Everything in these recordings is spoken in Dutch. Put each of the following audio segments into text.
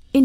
verscheen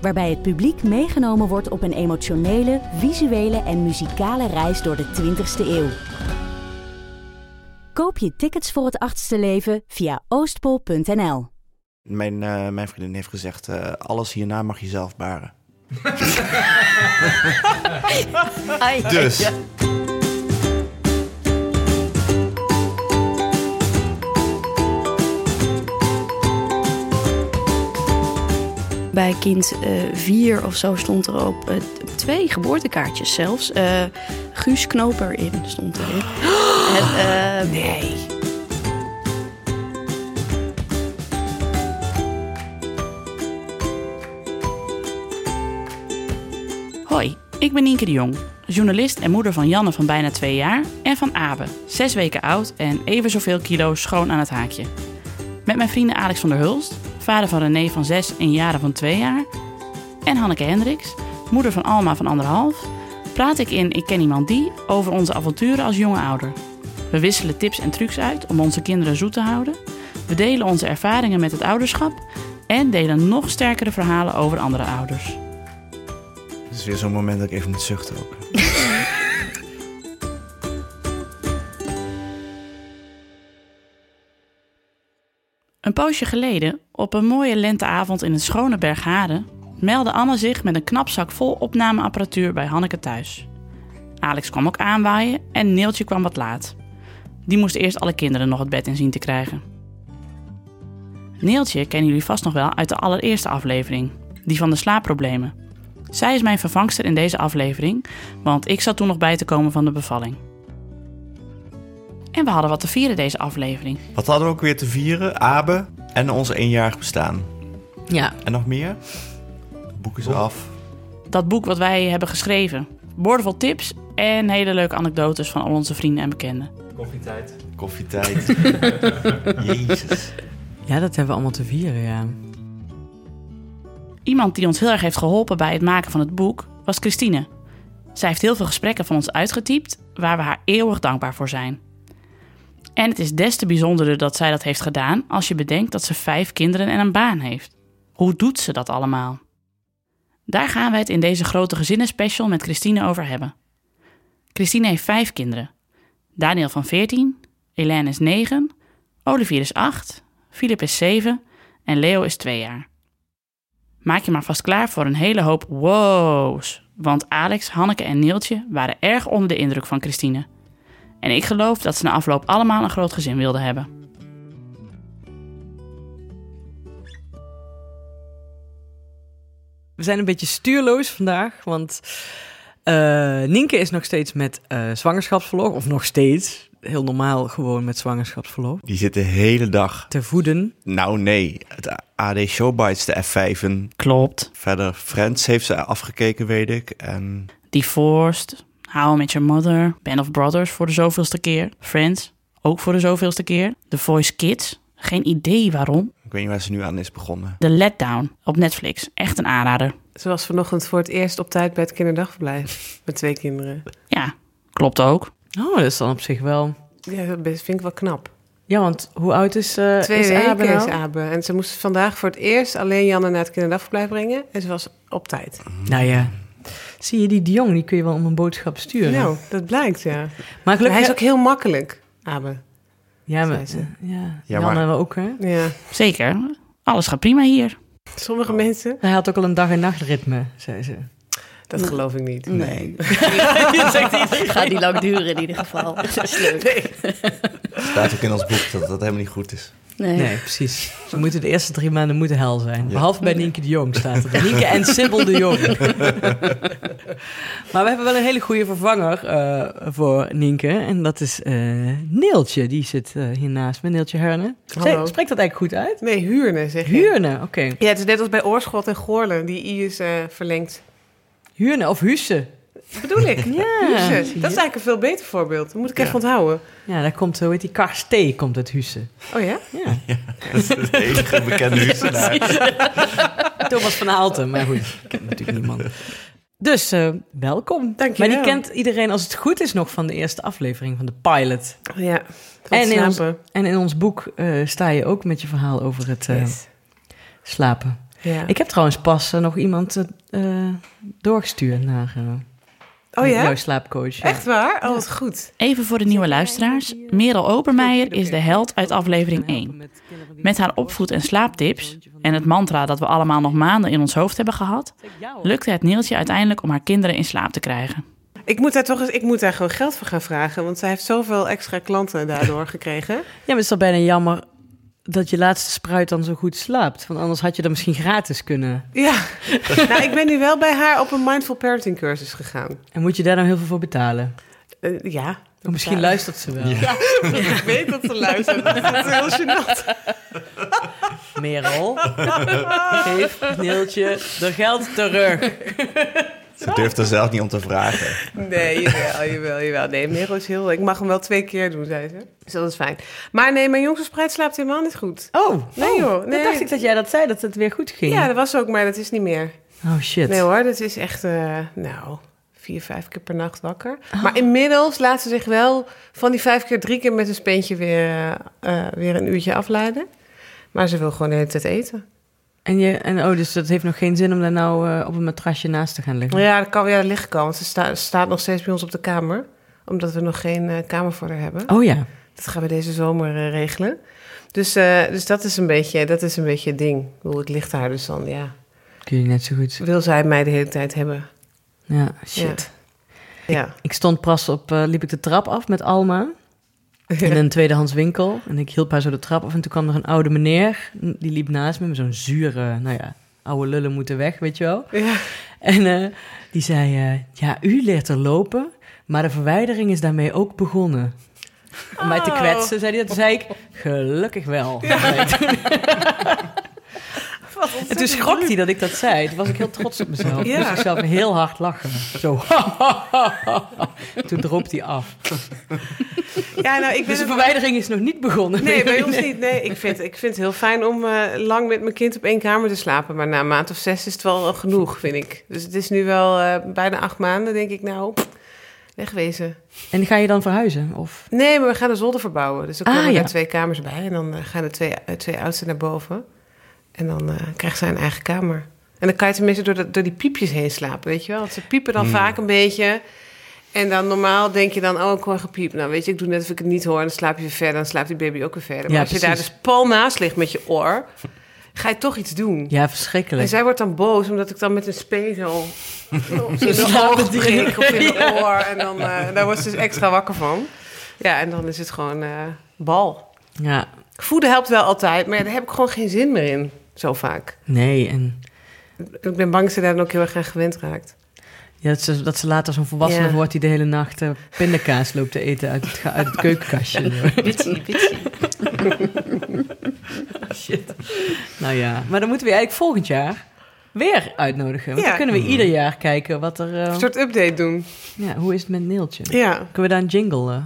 Waarbij het publiek meegenomen wordt op een emotionele, visuele en muzikale reis door de 20ste eeuw. Koop je tickets voor het achtste leven via oostpol.nl. Mijn, eh, mijn vriendin heeft gezegd, eh, alles hierna mag je zelf baren. Ai. Dus, Bij kind eh, vier of zo stond er op, eh, op twee geboortekaartjes zelfs. eh, Guus Knoper in stond erin. En, eh, Nee. Hoi, ik ben Nienke de Jong, journalist en moeder van Janne van bijna twee jaar en van Abe, zes weken oud en even zoveel kilo schoon aan het haakje. Met mijn vrienden Alex van der Hulst, vader van René van zes en Jaren van twee jaar, en Hanneke Hendricks, moeder van Alma van anderhalf, praat ik in Ik ken iemand die over onze avonturen als jonge ouder. We wisselen tips en trucs uit om onze kinderen zoet te houden, we delen onze ervaringen met het ouderschap en delen nog sterkere verhalen over andere ouders. het is weer zo'n moment dat ik even moet zuchten ook. Een poosje geleden, op een mooie lenteavond in het schone Bergharen, meldde Anne zich met een knapzak vol opnameapparatuur bij Hanneke thuis. Alex kwam ook aanwaaien en Neeltje kwam wat laat. Die moest eerst alle kinderen nog het bed in zien te krijgen. Neeltje kennen jullie vast nog wel uit de allereerste aflevering, die van de slaapproblemen. Zij is mijn vervangster in deze aflevering, want ik zat toen nog bij te komen van de bevalling. En we hadden wat te vieren deze aflevering. Wat hadden we ook weer te vieren? Abe en onze eenjarig bestaan. Ja. En nog meer? Het boek is af. dat boek wat wij hebben geschreven. Boordevol tips en hele leuke anekdotes van al onze vrienden en bekenden. Koffietijd. Koffietijd. Jezus. Ja, dat hebben we allemaal te vieren, ja. Iemand die ons heel erg heeft geholpen bij het maken van het boek was Christine. Zij heeft heel veel gesprekken van ons uitgetypt, waar we haar eeuwig dankbaar voor zijn. En het is des te bijzonderder dat zij dat heeft gedaan als je bedenkt dat ze vijf kinderen en een baan heeft. Hoe doet ze dat allemaal? Daar gaan we het in deze grote gezinnenspecial met Christine over hebben. Christine heeft vijf kinderen. Daniel van 14, Hélène is 9, Olivier is 8, Filip is 7 en Leo is 2 jaar. Maak je maar vast klaar voor een hele hoop wows. Want Alex, Hanneke en Neeltje waren erg onder de indruk van Christine. En ik geloof dat ze na afloop allemaal een groot gezin wilden hebben. We zijn een beetje stuurloos vandaag, want eh, Nienke is nog steeds met eh, zwangerschapsverlof. Of nog steeds, heel normaal gewoon met zwangerschapsverlof. Die zit de hele dag. Te voeden. Nou nee, het AD Showbites, de F5'en. Klopt. Verder Friends heeft ze afgekeken, weet ik. En Divorced, How I Met Your Mother, Band of Brothers voor de zoveelste keer, Friends, ook voor de zoveelste keer, The Voice Kids, geen idee waarom, ik weet niet waar ze nu aan is begonnen. The Letdown op Netflix, echt een aanrader. Ze was vanochtend voor het eerst op tijd bij het kinderdagverblijf. Met twee kinderen. Ja, klopt ook. Oh, dat is dan op zich wel... Ja, dat best- vind ik wel knap. Ja, want hoe oud is, eh Twee is weken Abe is nou? Abe. En ze moest vandaag voor het eerst alleen Janne naar het kinderdagverblijf brengen. En ze was op tijd. Nou ja, zie je die de Jong, die kun je wel om een boodschap sturen. Nou, dat blijkt, ja. maar Maar hij gelukkig is ook heel makkelijk, Abe. Ja, zei maar, ze. ja. Ja, ja maar- we ook, hè? Ja. Zeker, alles gaat prima hier. Oh. Sommige mensen, Hij had ook al een dag- en nachtritme, zei ze. dat geloof ik niet. Nee. gaat die lang duren in ieder geval. Dat is leuk. Staat ook in ons boek dat dat helemaal niet goed is. Nee. Nee, precies. Ze moeten de eerste drie maanden moeten hel zijn. Ja. Behalve bij Nienke de Jong staat er. Nienke en Sibyl de Jong. maar we hebben wel een hele goede vervanger eh, voor Nienke. En dat is eh, Neeltje. Die zit eh, hiernaast met Neeltje Herne. Hallo. Spreekt dat eigenlijk goed uit? Nee, huurne zeg je. Huurne, oké. Ja, het is net als bij Oorschot en Goorlen. Die I is eh, verlengd. Huurne of Husse. dat bedoel ik. Huset. Dat is eigenlijk een veel beter voorbeeld. Dat moet ik echt onthouden. Ja, daar komt, hoe heet die, Kars T komt uit Husse. Oh ja? Ja. Dat is de enige bekende Huissenaar. Thomas van Aalten, maar goed, ik ken natuurlijk niemand. Dus eh, welkom. Dank je maar die wel. kent iedereen, als het goed is, nog van de eerste aflevering van de pilot. Ja. Van En en in ons- slapen. En in ons boek eh, sta je ook met je verhaal over het eh, Yes. slapen. Ja. Ik heb trouwens pas eh, nog iemand eh, eh, doorgestuurd naar eh, oh ja? jouw slaapcoach. ja. Echt waar? Oh, wat goed. Even voor de nieuwe luisteraars. Merel Obermeijer is de held uit aflevering 1. Met haar opvoed- en slaaptips en het mantra dat we allemaal nog maanden in ons hoofd hebben gehad, lukte het Neeltje uiteindelijk om haar kinderen in slaap te krijgen. Ik moet daar toch eens, ik moet daar gewoon geld voor gaan vragen. Want zij heeft zoveel extra klanten daardoor gekregen. Ja, maar het is dan bijna jammer dat je laatste spruit dan zo goed slaapt. Want anders had je dat misschien gratis kunnen. Ja. nou, ik ben nu wel bij haar op een mindful parenting cursus gegaan. En moet je daar nou heel veel voor betalen? Eh, ja. Of misschien Ja. luistert ze wel. Ik weet dat ze luistert. Dat is heel gênant. Merel, geef Neeltje de geld terug. Ze durft er zelf niet om te vragen. Nee, jawel, jawel, jawel. Nee, Merel is heel... Ik mag hem wel twee keer doen, zei ze. Dus dat is fijn. Maar nee, mijn jongste spruit slaapt helemaal niet goed. Oh, Nee, joh, nee. Dan dacht ik dat jij dat zei, dat het weer goed ging. Ja, dat was ook, maar dat is niet meer. Oh shit. Nee hoor, dat is echt, eh, nou, vier, vijf keer per nacht wakker. Oh. Maar inmiddels laat ze zich wel van die vijf keer drie keer met een speentje weer, eh, weer een uurtje afleiden. Maar ze wil gewoon de hele tijd eten. En, je, en oh, dus dat heeft nog geen zin om daar nou eh, op een matrasje naast te gaan liggen. Ja, dat kan weer aan het licht komen, want ze sta- staat nog steeds bij ons op de kamer. Omdat we nog geen eh, kamer voor haar hebben. Oh ja. Dat gaan we deze zomer eh, regelen. Dus, eh, dus dat, is een beetje, dat is een beetje het ding. Ik bedoel, ik licht haar dus dan, ja. Kun je net zo goed. Wil zij mij de hele tijd hebben? Ja, shit. Ja. Ik stond pas op, eh, liep ik de trap af met Alma. In een tweedehands winkel. En ik hielp haar zo de trap af. En toen kwam er een oude meneer. Die liep naast me met zo'n zure, nou ja, oude lullen moeten weg, weet je wel. ja. En eh, die zei, eh, ja, u leert er lopen, maar de verwijdering is daarmee ook begonnen. Om mij te Oh. kwetsen, zei hij dat. Toen zei ik, gelukkig wel. en toen schrok hij dat ik dat zei. Toen was ik heel trots op mezelf. Ja. Toen moest ik zelf heel hard lachen. Zo. toen droop hij af. Ja, nou, ik Dus ben de het- verwijdering is nog niet begonnen. Nee, bij ons niet. Nee, ik vind, ik vind het heel fijn om eh, lang met mijn kind op één kamer te slapen. Maar na een maand of zes is het wel genoeg, vind ik. Dus het is nu wel eh, bijna acht maanden, denk ik. Nou, wegwezen. En ga je dan verhuizen? Of? Nee, maar we gaan de zolder verbouwen. Dus dan Ah, komen er ja. twee kamers bij. En dan eh, gaan de twee, eh, twee oudsten naar boven. En dan eh, krijgt zij een eigen kamer. En dan kan je tenminste door, dat- door die piepjes heen slapen, weet je wel. Want ze piepen Hmm. dan vaak een beetje. En dan normaal denk je dan, oh, ik hoor gepiep. Nou, weet je, ik doe net of ik het niet hoor. En dan slaap je weer verder. Dan slaapt die baby ook weer verder. Maar Ja, als je daar precies. dus pal naast ligt met je oor, ga je toch iets doen. Ja, En verschrikkelijk. zij wordt dan boos, omdat ik dan met een speen zo... op de slaat oog het direct. prik, of in de oor. En dan, eh, daar wordt ze dus extra wakker van. Ja, en dan is het gewoon eh, bal. Ja, Voeden helpt wel altijd, maar ja, daar heb ik gewoon geen zin meer in. Zo vaak. nee. En Ik ben bang dat ze daar dan ook heel erg aan gewend raakt. Ja, dat ze, dat ze later zo'n volwassene Ja. wordt die de hele nacht eh, pindakaas loopt te eten uit het, ga- uit het keukenkastje. Witsie, witsie. Shit. Nou ja, maar dan moeten we je eigenlijk volgend jaar weer uitnodigen. Want Ja. dan kunnen we ieder jaar kijken wat er... eh, Een soort update doen. ja, hoe is het met Neeltje? Ja, Kunnen we daar een jingle? eh,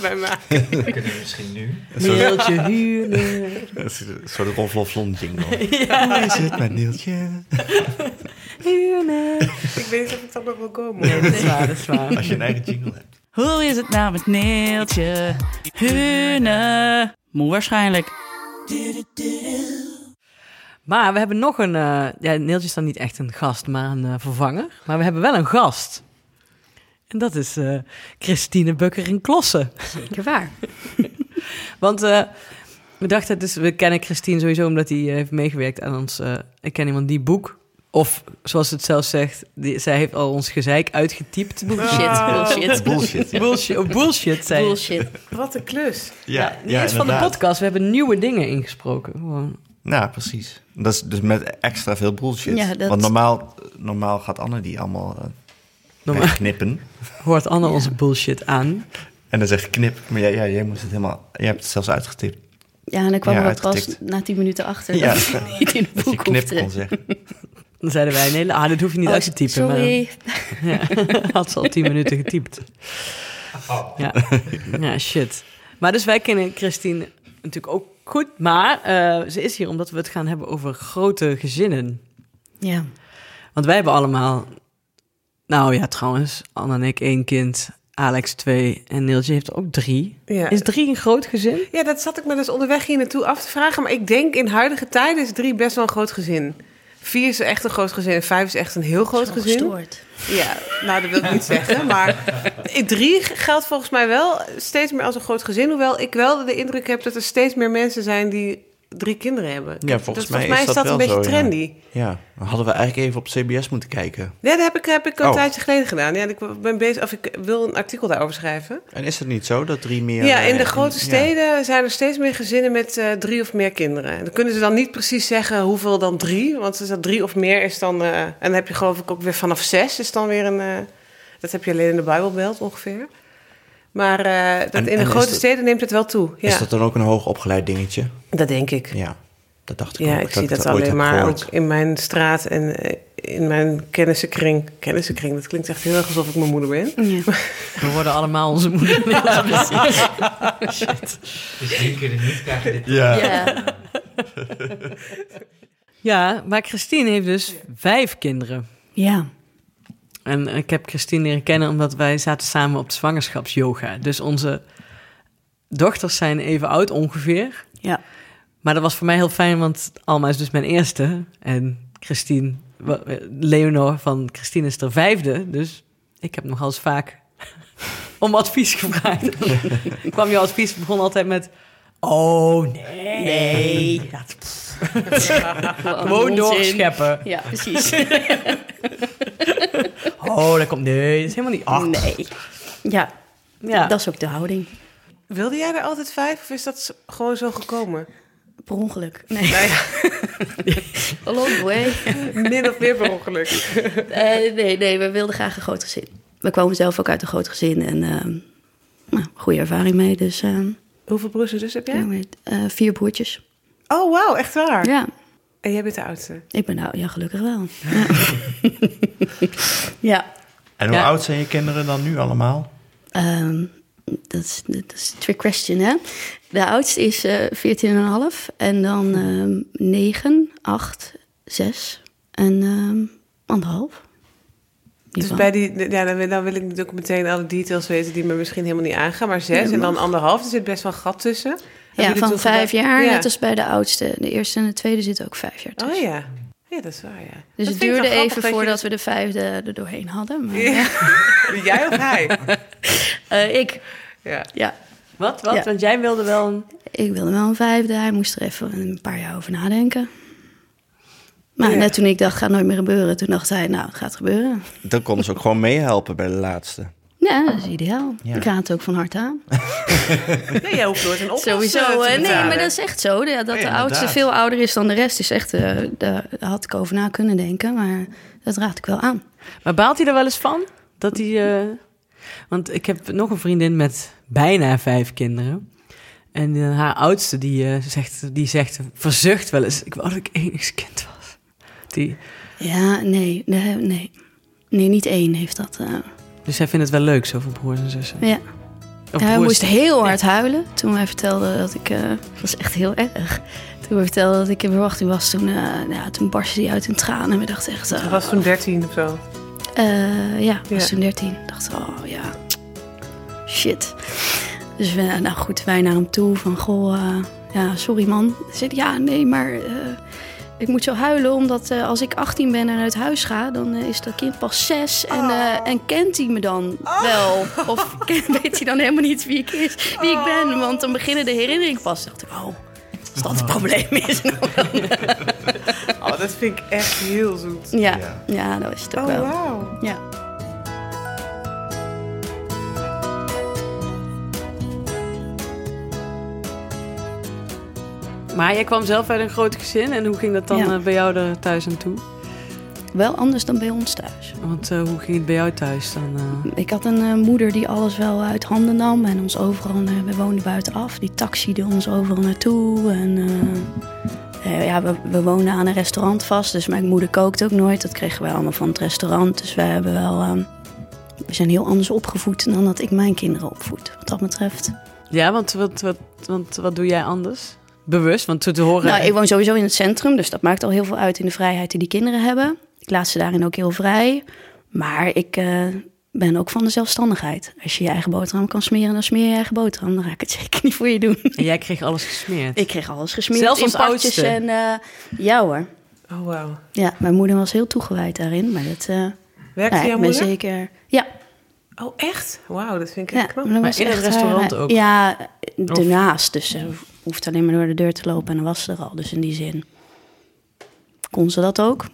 bij mij. kunnen we misschien nu. Neeltje huren. Dat is een soort rolfloflon jingle. Hoe is het met Nieltje? Huren. Ik weet niet of het dan nog wel komen. Nee, dat is waar, dat is waar. Als je een eigen jingle hebt. Hoe is het nou met Neeltje? Hune. Moe waarschijnlijk. Maar we hebben nog een... eh, ja, Neeltje is dan niet echt een gast, maar een eh, vervanger. Maar we hebben wel een gast. En dat is eh, Christine Bukker in Klossen. Zeker waar. Want eh, we dachten, dus we kennen Christine sowieso omdat hij heeft meegewerkt aan ons. eh, ik ken iemand die boek. Of zoals het zelf zegt, die, zij heeft al ons gezeik uitgetypt. Bullshit, bullshit. Ah. Bullshit. Ja, Bullshit, oh, bullshit zei je. Bullshit. Wat een klus. ja, Niet eens van de inderdaad. podcast, we hebben nieuwe dingen ingesproken. Gewoon. Nou, precies. Dat is dus met extra veel bullshit. Ja, dat- Want normaal, normaal gaat Anne die allemaal eh, Normaal. knippen. Hoort Anne onze bullshit aan. En dan zeg ik knip. Maar jij, jij, jij moest het helemaal... Jij hebt het zelfs uitgetipt. Ja, en dan kwam Ja, we pas uitgetikt. na tien minuten achter Ja. dat ik niet in het Dat je boek knip hoefde. kon zeggen. Dan zeiden wij, nee, ah, dat hoef je niet Oh, uit te typen. Sorry. Maar, eh, had ze al tien minuten getypt. Ja. ja, shit. Maar dus wij kennen Christine natuurlijk ook goed. Maar eh, ze is hier omdat we het gaan hebben over grote gezinnen. Ja. Want wij hebben allemaal... Nou ja, trouwens, Anne en ik één kind, Alex twee en Neeltje heeft er ook drie. Ja. Is drie een groot gezin? ja, dat zat ik me dus onderweg hier naartoe af te vragen. Maar ik denk in huidige tijden is drie best wel een groot gezin. Vier is echt een groot gezin en vijf is echt een heel groot Zo gezin. gestoord. Ja, nou dat wil ik niet zeggen. Maar drie geldt volgens mij wel steeds meer als een groot gezin. Hoewel ik wel de indruk heb dat er steeds meer mensen zijn die drie kinderen hebben. Ja, volgens dat, mij volgens mij is dat een wel beetje zo, ja. trendy. Ja, dan hadden we eigenlijk even op CBS moeten kijken. Ja, dat heb ik, heb ik een Oh. tijdje geleden gedaan. Ja, ik ben bezig, of ik wil een artikel daarover schrijven. En is het niet zo dat drie meer... Ja, in de eh, grote ja. steden zijn er steeds meer gezinnen met eh, drie of meer kinderen. En dan kunnen ze dan niet precies zeggen hoeveel dan drie. Want ze dat drie of meer is dan... eh, en dan heb je geloof ik ook weer vanaf zes is dan weer een... eh, dat heb je alleen in de Bijbelbeeld ongeveer. Maar eh, dat En- in de en is grote dat- steden neemt het wel toe. Ja, Is dat... dat dan ook een hoogopgeleid dingetje? denk ik. Ja, Ja, dat dacht ik ook. ik zie dat ooit alleen heb maar ook gehoord. in mijn straat en eh, in mijn kennissenkring. Kennissenkring, dat klinkt echt heel erg alsof ik mijn moeder ben. Ja. We worden allemaal onze moeder. Ja, precies. Dus drie keer de niet krijgen dit. Ja. Ja. ja, maar Christine heeft dus vijf kinderen. ja. En ik heb Christine leren kennen omdat wij zaten samen op de zwangerschapsyoga. Dus onze dochters zijn even oud ongeveer. Ja. Maar dat was voor mij heel fijn, want Alma is dus mijn eerste. En Christine, wa- eh, Leonor van Christine is de vijfde. Dus ik heb nogal eens vaak om advies gevraagd. Ik kwam je advies, begon altijd met... Oh, nee. Nee. Dat, pff, gewoon doorscheppen. Ja, precies. Oh, dat komt... Nee, dat is helemaal niet... Ach, Nee. Ja, ja. dat is ook de houding. Wilde jij er altijd vijf of is dat z- gewoon zo gekomen? Per ongeluk. Nee. Nou Along the way. Min of meer per ongeluk. Eh, nee, nee, we wilden graag een groot gezin. We kwamen zelf ook uit een groot gezin en ehm, nou, goede ervaring mee. Dus ehm, Hoeveel broers en zussen heb ja, jij? met, eh, vier broertjes. Oh, wauw, echt waar. Ja, En jij bent de oudste. ik ben nou, ja, gelukkig wel. Ja. ja. En hoe Ja. oud zijn je kinderen dan nu allemaal? Ehm, dat, is, dat is een trick question, hè? De oudste is eh 14,5 en dan ehm 9, 8, 6 en ehm anderhalf. Die Dus van- bij die, ja, dan, wil, dan wil ik natuurlijk meteen alle details weten die me misschien helemaal niet aangaan. Maar zes en dan anderhalf, er zit best wel een gat tussen. ja, Hebben jullie van toen vijf gedacht- jaar, Ja. net als bij de oudste. De eerste en de tweede zitten ook vijf jaar tussen. Oh ja. Ja, dat is waar, ja. Dus het Dat vind ik wel duurde grappig even dat je voordat we de vijfde er doorheen hadden. Maar, dat- Jij of hij? Eh, ik, Ja. ja, Wat, wat? Ja. Want jij wilde wel een... ik wilde wel een vijfde. Hij moest er even een paar jaar over nadenken. Maar net toen ik dacht, gaat nooit meer gebeuren, toen dacht hij, nou, het gaat gebeuren. Dan konden ze ook gewoon meehelpen bij de laatste. Ja, dat is ideaal. Ja. Ik raad het ook van harte aan. Nee, jij hoeft nooit een oplossing Sowieso. te eh, nee, betalen. maar dat is echt zo. Ja, dat de inderdaad. oudste veel ouder is dan de rest, is echt, eh, daar had ik over na kunnen denken. Maar dat raad ik wel aan. Maar baalt hij er wel eens van? Dat hij. eh, Want ik heb nog een vriendin met bijna vijf kinderen. En eh, haar oudste die, eh, zegt, die zegt, verzucht wel eens. Ik wou dat ik enigszins kind was. Die, Ja, nee, nee, nee. Nee, niet één heeft dat. eh, dus zij vindt het wel leuk, zoveel broers en zussen. ja. Of Ja, hij broers- moest heel hard huilen toen hij vertelde dat ik... eh, het was echt heel erg. Toen hij vertelde dat ik in verwachting was, toen, eh, ja, toen barstte hij uit in tranen. En we dachten echt... Hij eh, was toen dertien of zo. eh, ja, was Ja. toen 13. Dacht, oh ja, shit. Dus we, nou goed, wij naar hem toe van, goh, eh, ja, sorry man. Hij zei, ja, nee, maar eh, ik moet zo huilen, omdat eh, als ik 18 ben en uit huis ga, dan eh, is dat kind pas 6. Oh. En, eh, en kent hij me dan wel? Of ken- weet hij dan helemaal niet wie ik, is, wie ik Oh. ben? Want dan beginnen de herinneringen pas. Dacht ik, oh. Als dat het probleem is. Oh, dat vind ik echt heel zoet. Ja, ja, dat is het ook Oh, wel. wauw. Ja. Maar jij kwam zelf uit een groot gezin. En hoe ging dat dan Ja. eh, bij jou er thuis aan toe? Wel anders dan bij ons thuis. Want eh, hoe ging het bij jou thuis dan? eh? Ik had een eh, moeder die alles wel uit handen nam en ons overal, eh, we woonden buitenaf, die taxiede ons overal naartoe. En eh, Eh, ja, we, we wonen aan een restaurant vast, dus mijn moeder kookt ook nooit. Dat kregen wij allemaal van het restaurant. Dus wij hebben wel, ehm, we zijn heel anders opgevoed dan dat ik mijn kinderen opvoed, wat dat betreft. Ja, want wat, wat, want wat doe jij anders? Bewust, want te horen... Nou, ik woon sowieso in het centrum, dus dat maakt al heel veel uit in de vrijheid die die kinderen hebben. Ik laat ze daarin ook heel vrij. Maar ik eh, ben ook van de zelfstandigheid. Als je je eigen boterham kan smeren, dan smeer je je eigen boterham. Dan ga ik het zeker niet voor je doen. En jij kreeg alles gesmeerd. Ik kreeg alles gesmeerd Zelfs in als pakjes oudste? en eh, ja hoor. Oh, wauw. Ja, mijn moeder was heel toegewijd daarin, maar dat eh nou Werkte ja, jouw ik ben moeder? zeker. Ja, Oh, echt? Wauw, dat vind ik ja echt knap. dat Maar was in het echt, restaurant eh, ook? Ja, daarnaast. Dus ze hoeft alleen maar door de deur te lopen en dan was ze er al. Dus in die zin kon ze dat ook.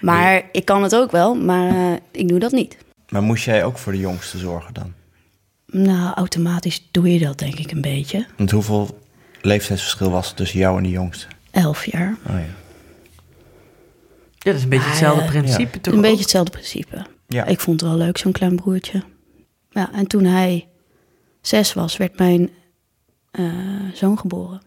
Maar ik kan het ook wel, maar eh, ik doe dat niet. Maar moest jij ook voor de jongste zorgen dan? Nou, automatisch doe je dat denk ik een beetje. Want hoeveel leeftijdsverschil was er tussen jou en de jongste? Elf jaar. Oh ja. Ja, dat is een beetje Ah, hetzelfde ja. principe toch? Een ook? beetje hetzelfde principe. Ja. Ik vond het wel leuk, zo'n klein broertje. Ja, en toen hij zes was, werd mijn eh, zoon geboren.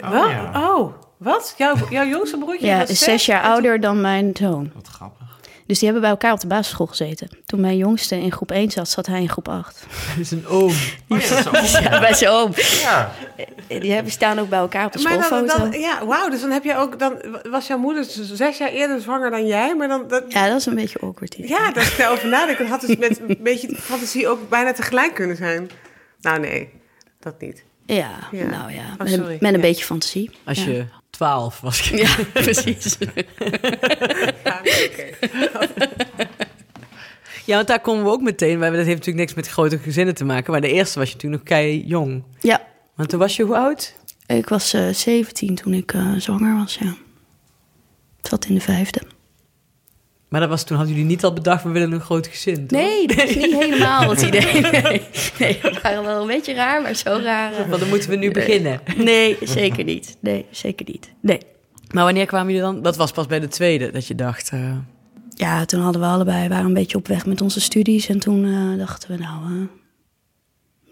Wat? Oh, wat? Jouw, jouw jongste broertje Ja, was is zes jaar en toen- ouder dan mijn zoon. Wat grappig. Dus die hebben bij elkaar op de basisschool gezeten. Toen mijn jongste in groep 1 zat, zat hij in groep 8. Dat is een oom. Oh, ja, dat is ook- Ja, bij zijn oom. Die hebben, staan ook bij elkaar op de Maar dan, schoolfoto. dan, ja, wauw, dus dan heb je ook, dan was jouw moeder z- zes jaar eerder zwanger dan jij, maar dan, dat, Ja, dat is een beetje awkward. hier. ja, daar stel over nadenken, dan had dus met een beetje fantasie ook bijna tegelijk kunnen zijn. Nou nee, dat niet. Ja, Ja. nou ja. Oh, met een, sorry. met een Ja. beetje fantasie. Als Ja. je twaalf was. Ja, precies. Ja, nee, oké. Ja, want daar komen we ook meteen. bij. Dat heeft natuurlijk niks met grote gezinnen te maken. Maar de eerste was je toen nog kei jong. Ja, Want toen was je hoe oud? ik was eh 17 toen ik eh, zwanger was, ja. Ik zat in de vijfde. Maar dat was, toen hadden jullie niet al bedacht, we willen een groot gezin. toch? Nee, dat is niet helemaal het idee. Nee, nee we waren wel een beetje raar, maar zo raar. eh. Want dan moeten we nu beginnen. Nee, zeker niet. Nee, zeker niet. Nee. Maar wanneer kwamen jullie dan? Dat was pas bij de tweede dat je dacht. eh, Ja, toen hadden we allebei, waren een beetje op weg met onze studies. En toen eh, dachten we, nou, eh,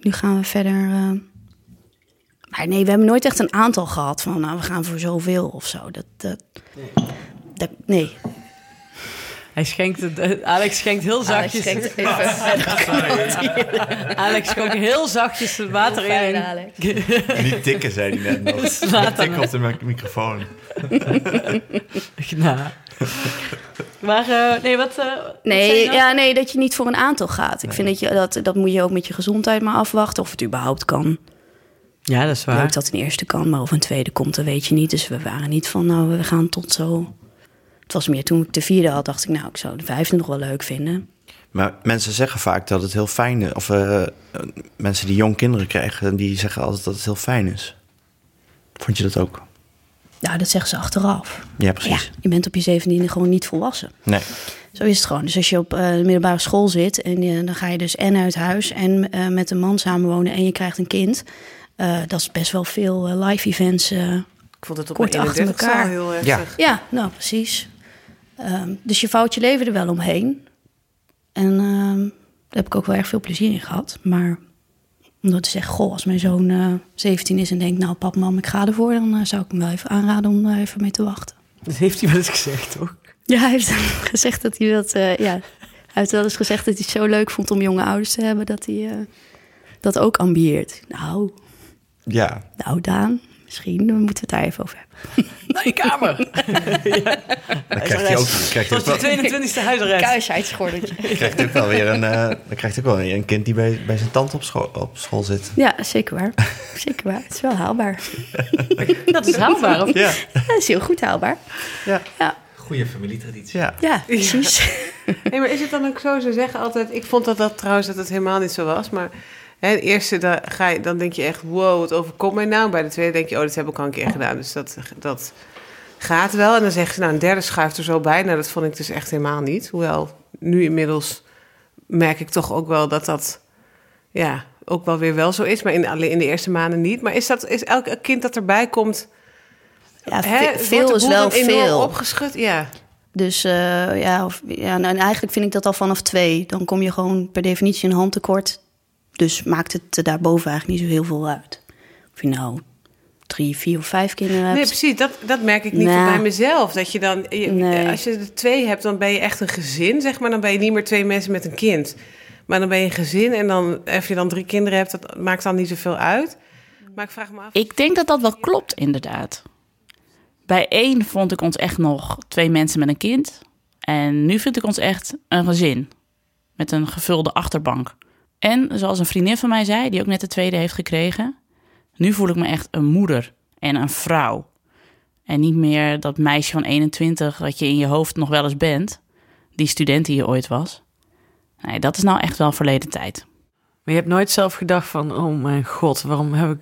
nu gaan we verder. eh. Maar nee, we hebben nooit echt een aantal gehad van, nou, we gaan voor zoveel of zo. Dat, dat, dat, nee. hij schenkt het, eh, Alex schenkt heel Alex zachtjes. Alex, schenkt even schonk heel zachtjes het water fijn, in. Alex. Niet tikken, zei hij net nog. Slaat hem. op de mic- microfoon. Nou. Maar eh, nee, wat. eh, wat zei je Nee, nou? ja, nee, dat je niet voor een aantal gaat. Ik vind dat, je, dat dat moet je ook met je gezondheid maar afwachten of het überhaupt kan. ja, dat is waar. Leuk dat een eerste kan, maar of een tweede komt, dat weet je niet. Dus we waren niet van, nou, we gaan tot zo. Het was meer toen ik de vierde had, dacht ik, nou, ik zou de vijfde nog wel leuk vinden. Maar mensen zeggen vaak dat het heel fijn is. Of eh, eh, mensen die jong kinderen krijgen, die zeggen altijd dat het heel fijn is. Vond je dat ook? Nou, dat zeggen ze achteraf. Ja, Ja, precies. je bent op je zeventiende gewoon niet volwassen. Nee. Zo is het gewoon. Dus als je op eh, de middelbare school zit en eh, dan ga je dus en uit huis en eh, met een man samenwonen en je krijgt een kind. eh, dat is best wel veel eh, live events. eh. Ik vond het op Kort mijn achter 31ste al elkaar. heel Ja. heftig. Ja, nou precies. Ehm, dus je vouwt je leven er wel omheen. En ehm, daar heb ik ook wel erg veel plezier in gehad. Maar omdat te zeggen, goh, als mijn zoon eh, 17 is en denkt, nou pap, mam, ik ga ervoor, dan eh, zou ik hem wel even aanraden om daar even mee te wachten. Dat heeft hij wel eens gezegd, toch? Ja, hij heeft gezegd dat hij dat. eh, ja, hij heeft wel eens gezegd dat hij het zo leuk vond om jonge ouders te hebben dat hij eh, dat ook ambieert. Nou, Ja. nou, Daan, misschien moeten we het daar even over hebben. Naar je kamer. Dan krijgt hij ook, krijgt hij ook Tot wel, je 22e huisarrest. Kuisheidsgordetje. krijgt hij ook wel weer een, eh, dan krijgt hij ook wel weer een kind die bij, bij zijn tante op school, op school zit. Ja, zeker waar. Zeker waar. Het is wel haalbaar. Dat is haalbaar. of- Ja. Ja, het is heel goed haalbaar. Ja. Ja, Goeie familietraditie. ja. ja precies. Nee, maar is het dan ook zo? Ze zeggen altijd, ik vond dat dat trouwens dat het helemaal niet zo was, maar hè, het eerste da- ga je, dan denk je echt, wow, wat overkomt mij nou? Bij de tweede denk je, oh, dit heb ik al een keer gedaan, dus dat, dat gaat wel. En dan zeggen ze, nou, een derde schuift er zo bij. Nou, dat vond ik dus echt helemaal niet. Hoewel, nu inmiddels merk ik toch ook wel dat dat, ja, ook wel weer wel zo is, maar in, alleen in de eerste maanden niet. Maar is dat, is elk kind dat erbij komt, Ja, hè, ve- wordt Ah, veel de is boel wel dan enorm veel. opgeschud? Ja. Dus eh, ja, of, ja nou, en eigenlijk vind ik dat al vanaf twee. Dan kom je gewoon per definitie een handtekort. Dus maakt het eh, daarboven eigenlijk niet zo heel veel uit. Of je nou drie, vier of vijf kinderen Nee, hebt. precies. Dat, dat merk ik niet Nou. bij mezelf. Dat je dan, je- Nee. als je er twee hebt, dan ben je echt een gezin, zeg maar. Dan ben je niet meer twee mensen met een kind. Maar dan ben je een gezin en dan, of je dan drie kinderen hebt, dat maakt dan niet zoveel uit. Maar ik vraag me af. Ik denk dat dat wel klopt, inderdaad. Bij één vond ik ons echt nog twee mensen met een kind. En nu vind ik ons echt een gezin. Met een gevulde achterbank. En zoals een vriendin van mij zei, die ook net de tweede heeft gekregen. Nu voel ik me echt een moeder en een vrouw. En niet meer dat meisje van 21 dat je in je hoofd nog wel eens bent. Die student die je ooit was. Nee, dat is nou echt wel verleden tijd. Maar je hebt nooit zelf gedacht van, oh mijn god, waarom heb ik...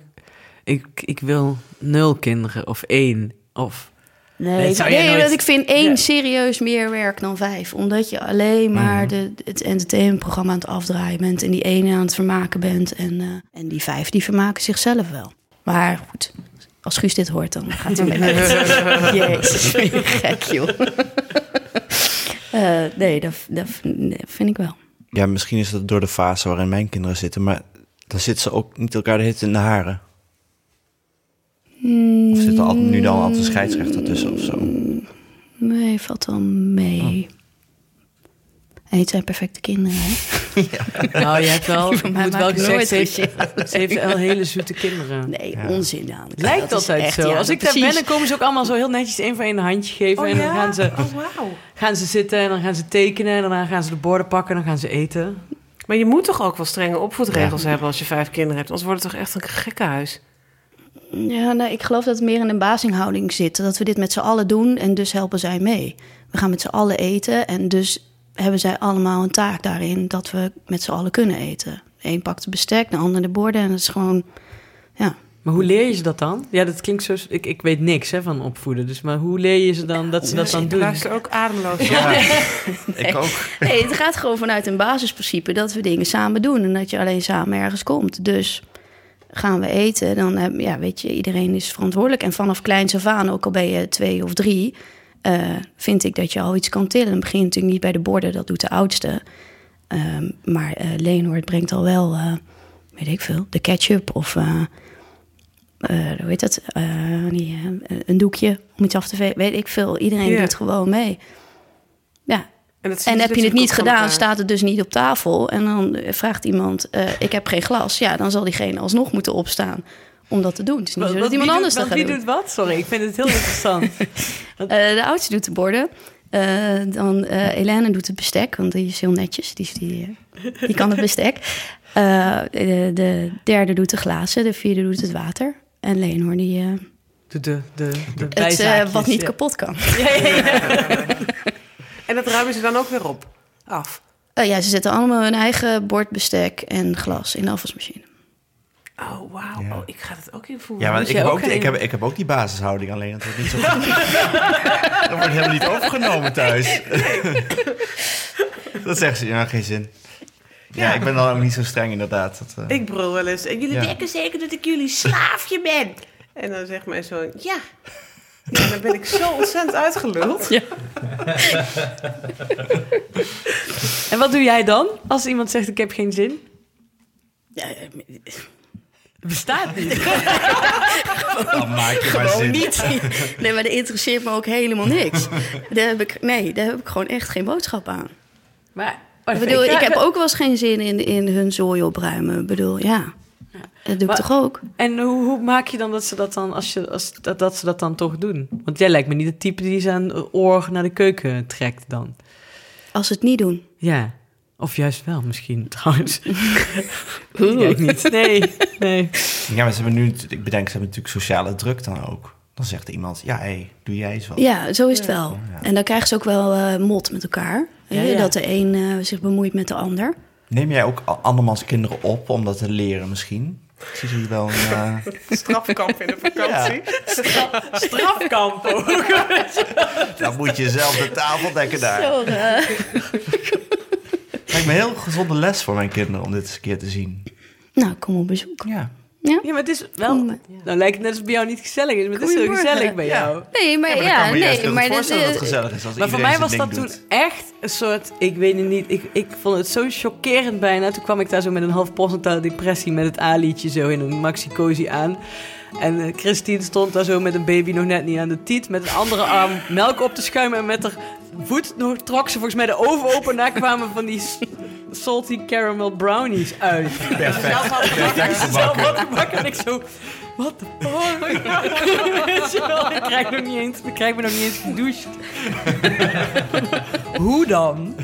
Ik, ik wil nul kinderen of één of... Nee, Nee, nee, dat zou jij nooit- want ik vind één Ja. Mhm. serieus meer werk dan vijf. Omdat je alleen maar de, het entertainmentprogramma aan het afdraaien bent... en die ene aan het vermaken bent. En, eh, en die vijf, die vermaken zichzelf wel. Maar goed, als Guus dit hoort, dan gaat hij mee. Jezus, ben je gek, joh. Eh, nee, dat, dat nee, vind ik wel. Ja, misschien is dat door de fase waarin mijn kinderen zitten, maar dan zitten ze ook niet elkaar de hit in de haren. Of zit er altijd, nu dan altijd een scheidsrechter tussen of zo? Nee, valt wel mee. Oh. En het zijn perfecte kinderen, hè? Nou, je hebt wel, ik Van mij moet wel maakt gezegd, nooit ze heeft, ruzie. ze heeft wel hele zoete kinderen. Nee, onzin aan. Lijkt dat is altijd echt- zo. ja, Als ik daar precies. ben, dan komen ze ook allemaal zo heel netjes één voor één een handje geven. en dan gaan, ze, Oh, wauw. gaan ze zitten en dan gaan ze tekenen. En daarna gaan ze de borden pakken en dan gaan ze eten. Maar je moet toch ook wel strenge opvoedregels hebben als je vijf kinderen hebt. Anders wordt het toch echt een gekkenhuis. Ja, nee, ik geloof dat het meer in een basinghouding zit. Dat we dit met z'n allen doen en dus helpen zij mee. We gaan met z'n allen eten en dus hebben zij allemaal een taak daarin dat we met z'n allen kunnen eten. De een pakt het bestek, de ander de borden en het is gewoon, ja. Maar hoe leer je ze dat dan? Ja, dat klinkt zo... Ik, ik weet niks hè, van opvoeden. Dus, maar hoe leer je ze dan dat ze dat dan Ik doen? luister ook ademloos. Ja, ik ook. Nee, het gaat gewoon vanuit een basisprincipe dat we dingen samen doen en dat je alleen samen ergens komt. Dus gaan we eten, dan heb, ja, weet je, iedereen is verantwoordelijk. En vanaf kleins af aan, ook al ben je twee of drie, eh, vind ik dat je al iets kan tillen. Het begint natuurlijk niet bij de borden, dat doet de oudste. Ehm, maar eh Leonhard brengt al wel, eh, weet ik veel, de ketchup of eh, eh, hoe heet dat? Eh, die, eh, een doekje om iets af te vegen. Weet ik veel. Iedereen Ja. doet gewoon mee. Ja, dat zien ze en heb je dus natuurlijk het ook niet van gedaan, elkaar. staat het dus niet op tafel. En dan eh, vraagt iemand, eh, ik heb geen glas. Ja, dan zal diegene alsnog moeten opstaan om dat te doen. Het is niet zo Wat- dat wat- iemand wie anders doet, dat want gaat Wie doen. doet wat? Sorry, ik vind het heel interessant. Eh, de oudste doet de borden. Eh, dan eh Elena doet het bestek, want die is heel netjes. Die, is- die, eh, die kan het bestek. Eh, de, de derde doet de glazen, de vierde doet het water. En Leenhoorn die eh, Doe de, de, de het eh, bijzaakjes, wat niet ja. kapot kan. En dat ruimen ze dan ook weer op. Af. Eh, ja, ze zetten allemaal hun eigen bord, bestek en glas in de afwasmachine. Oh, wauw. Ja. Oh, ik ga dat ook invoeren. Ja, want Moet ik jij heb, ook, gaan ik, heb, ik heb ook die basishouding, alleen dat wordt niet zo goed. dat wordt helemaal niet overgenomen thuis. dat zegt ze, ja, geen zin. Ja, ik ben dan ook niet zo streng inderdaad. Dat, eh, Ik brul wel eens. En jullie Ja. denken zeker dat ik jullie slaafje ben. En dan zegt mijn zoon, ja. Ja, dan ben ik zo ontzettend uitgeluld. En wat doe jij dan als iemand zegt ik heb geen zin? Ja, Bestaat niet. dan maak je maar zin. Oh, niet. Nee, maar dat interesseert me ook helemaal niks. Daar heb ik, nee, daar heb ik gewoon echt geen boodschap aan. Maar, Ik bedoel, ik heb ook wel eens geen zin in, in hun zooi opruimen. Ik bedoel, ja. Dat doe ik Maar- toch ook? En hoe, hoe maak je dan dat ze dat dan, als je, als, dat, dat ze dat dan toch doen? Want jij lijkt me niet het type die zijn oor naar de keuken trekt dan. Als ze het niet doen. Ja. Of juist wel, misschien trouwens. Weet ik niet. Nee, nee. Ja, maar ze hebben nu, ik bedenk, ze hebben natuurlijk sociale druk dan ook. Dan zegt iemand, ja, hé, doe jij eens wat. Ja, zo is het wel. En dan krijgen ze ook wel eh mot met elkaar. Ja, Hè, ja. Dat de een eh, zich bemoeit met de ander. Neem jij ook a- andermans kinderen op om dat te leren misschien? Ik zie hier wel een... eh, Strafkamp in de vakantie. Strafkamp ook. dan moet je zelf de tafel dekken daar. Zo, eh, Lijkt me een heel gezonde les voor mijn kinderen om dit eens een keer te zien. nou, kom op bezoek. Ja. Ja, maar het is wel... Nou lijkt het net alsof het bij jou niet gezellig is, maar het is heel Goedemorgen. gezellig bij Ja. jou. Nee, maar maar ja, ik kan me juist nee, heel maar goed dit, voorstellen dat het eh, gezellig is als Maar voor iedereen mij zijn was ding dat toen doet. echt een soort, ik weet het niet, ik, ik vond het zo chockerend bijna. Toen kwam ik daar zo met een half postnatale depressie met het A-liedje zo in een maxi-cozy aan. En eh, Christine stond daar zo met een baby nog net niet aan de tiet. Met een andere arm melk op te schuimen. En met haar voet nog trok ze volgens mij de oven open. En daar kwamen van die s- salty caramel brownies uit. Perfect. Zelf had ik Perfect zelf had gebakken. En ik zo... What the fuck? Weet je wel, ik krijg, nog niet eens, ik krijg me nog niet eens gedoucht. Hoe dan?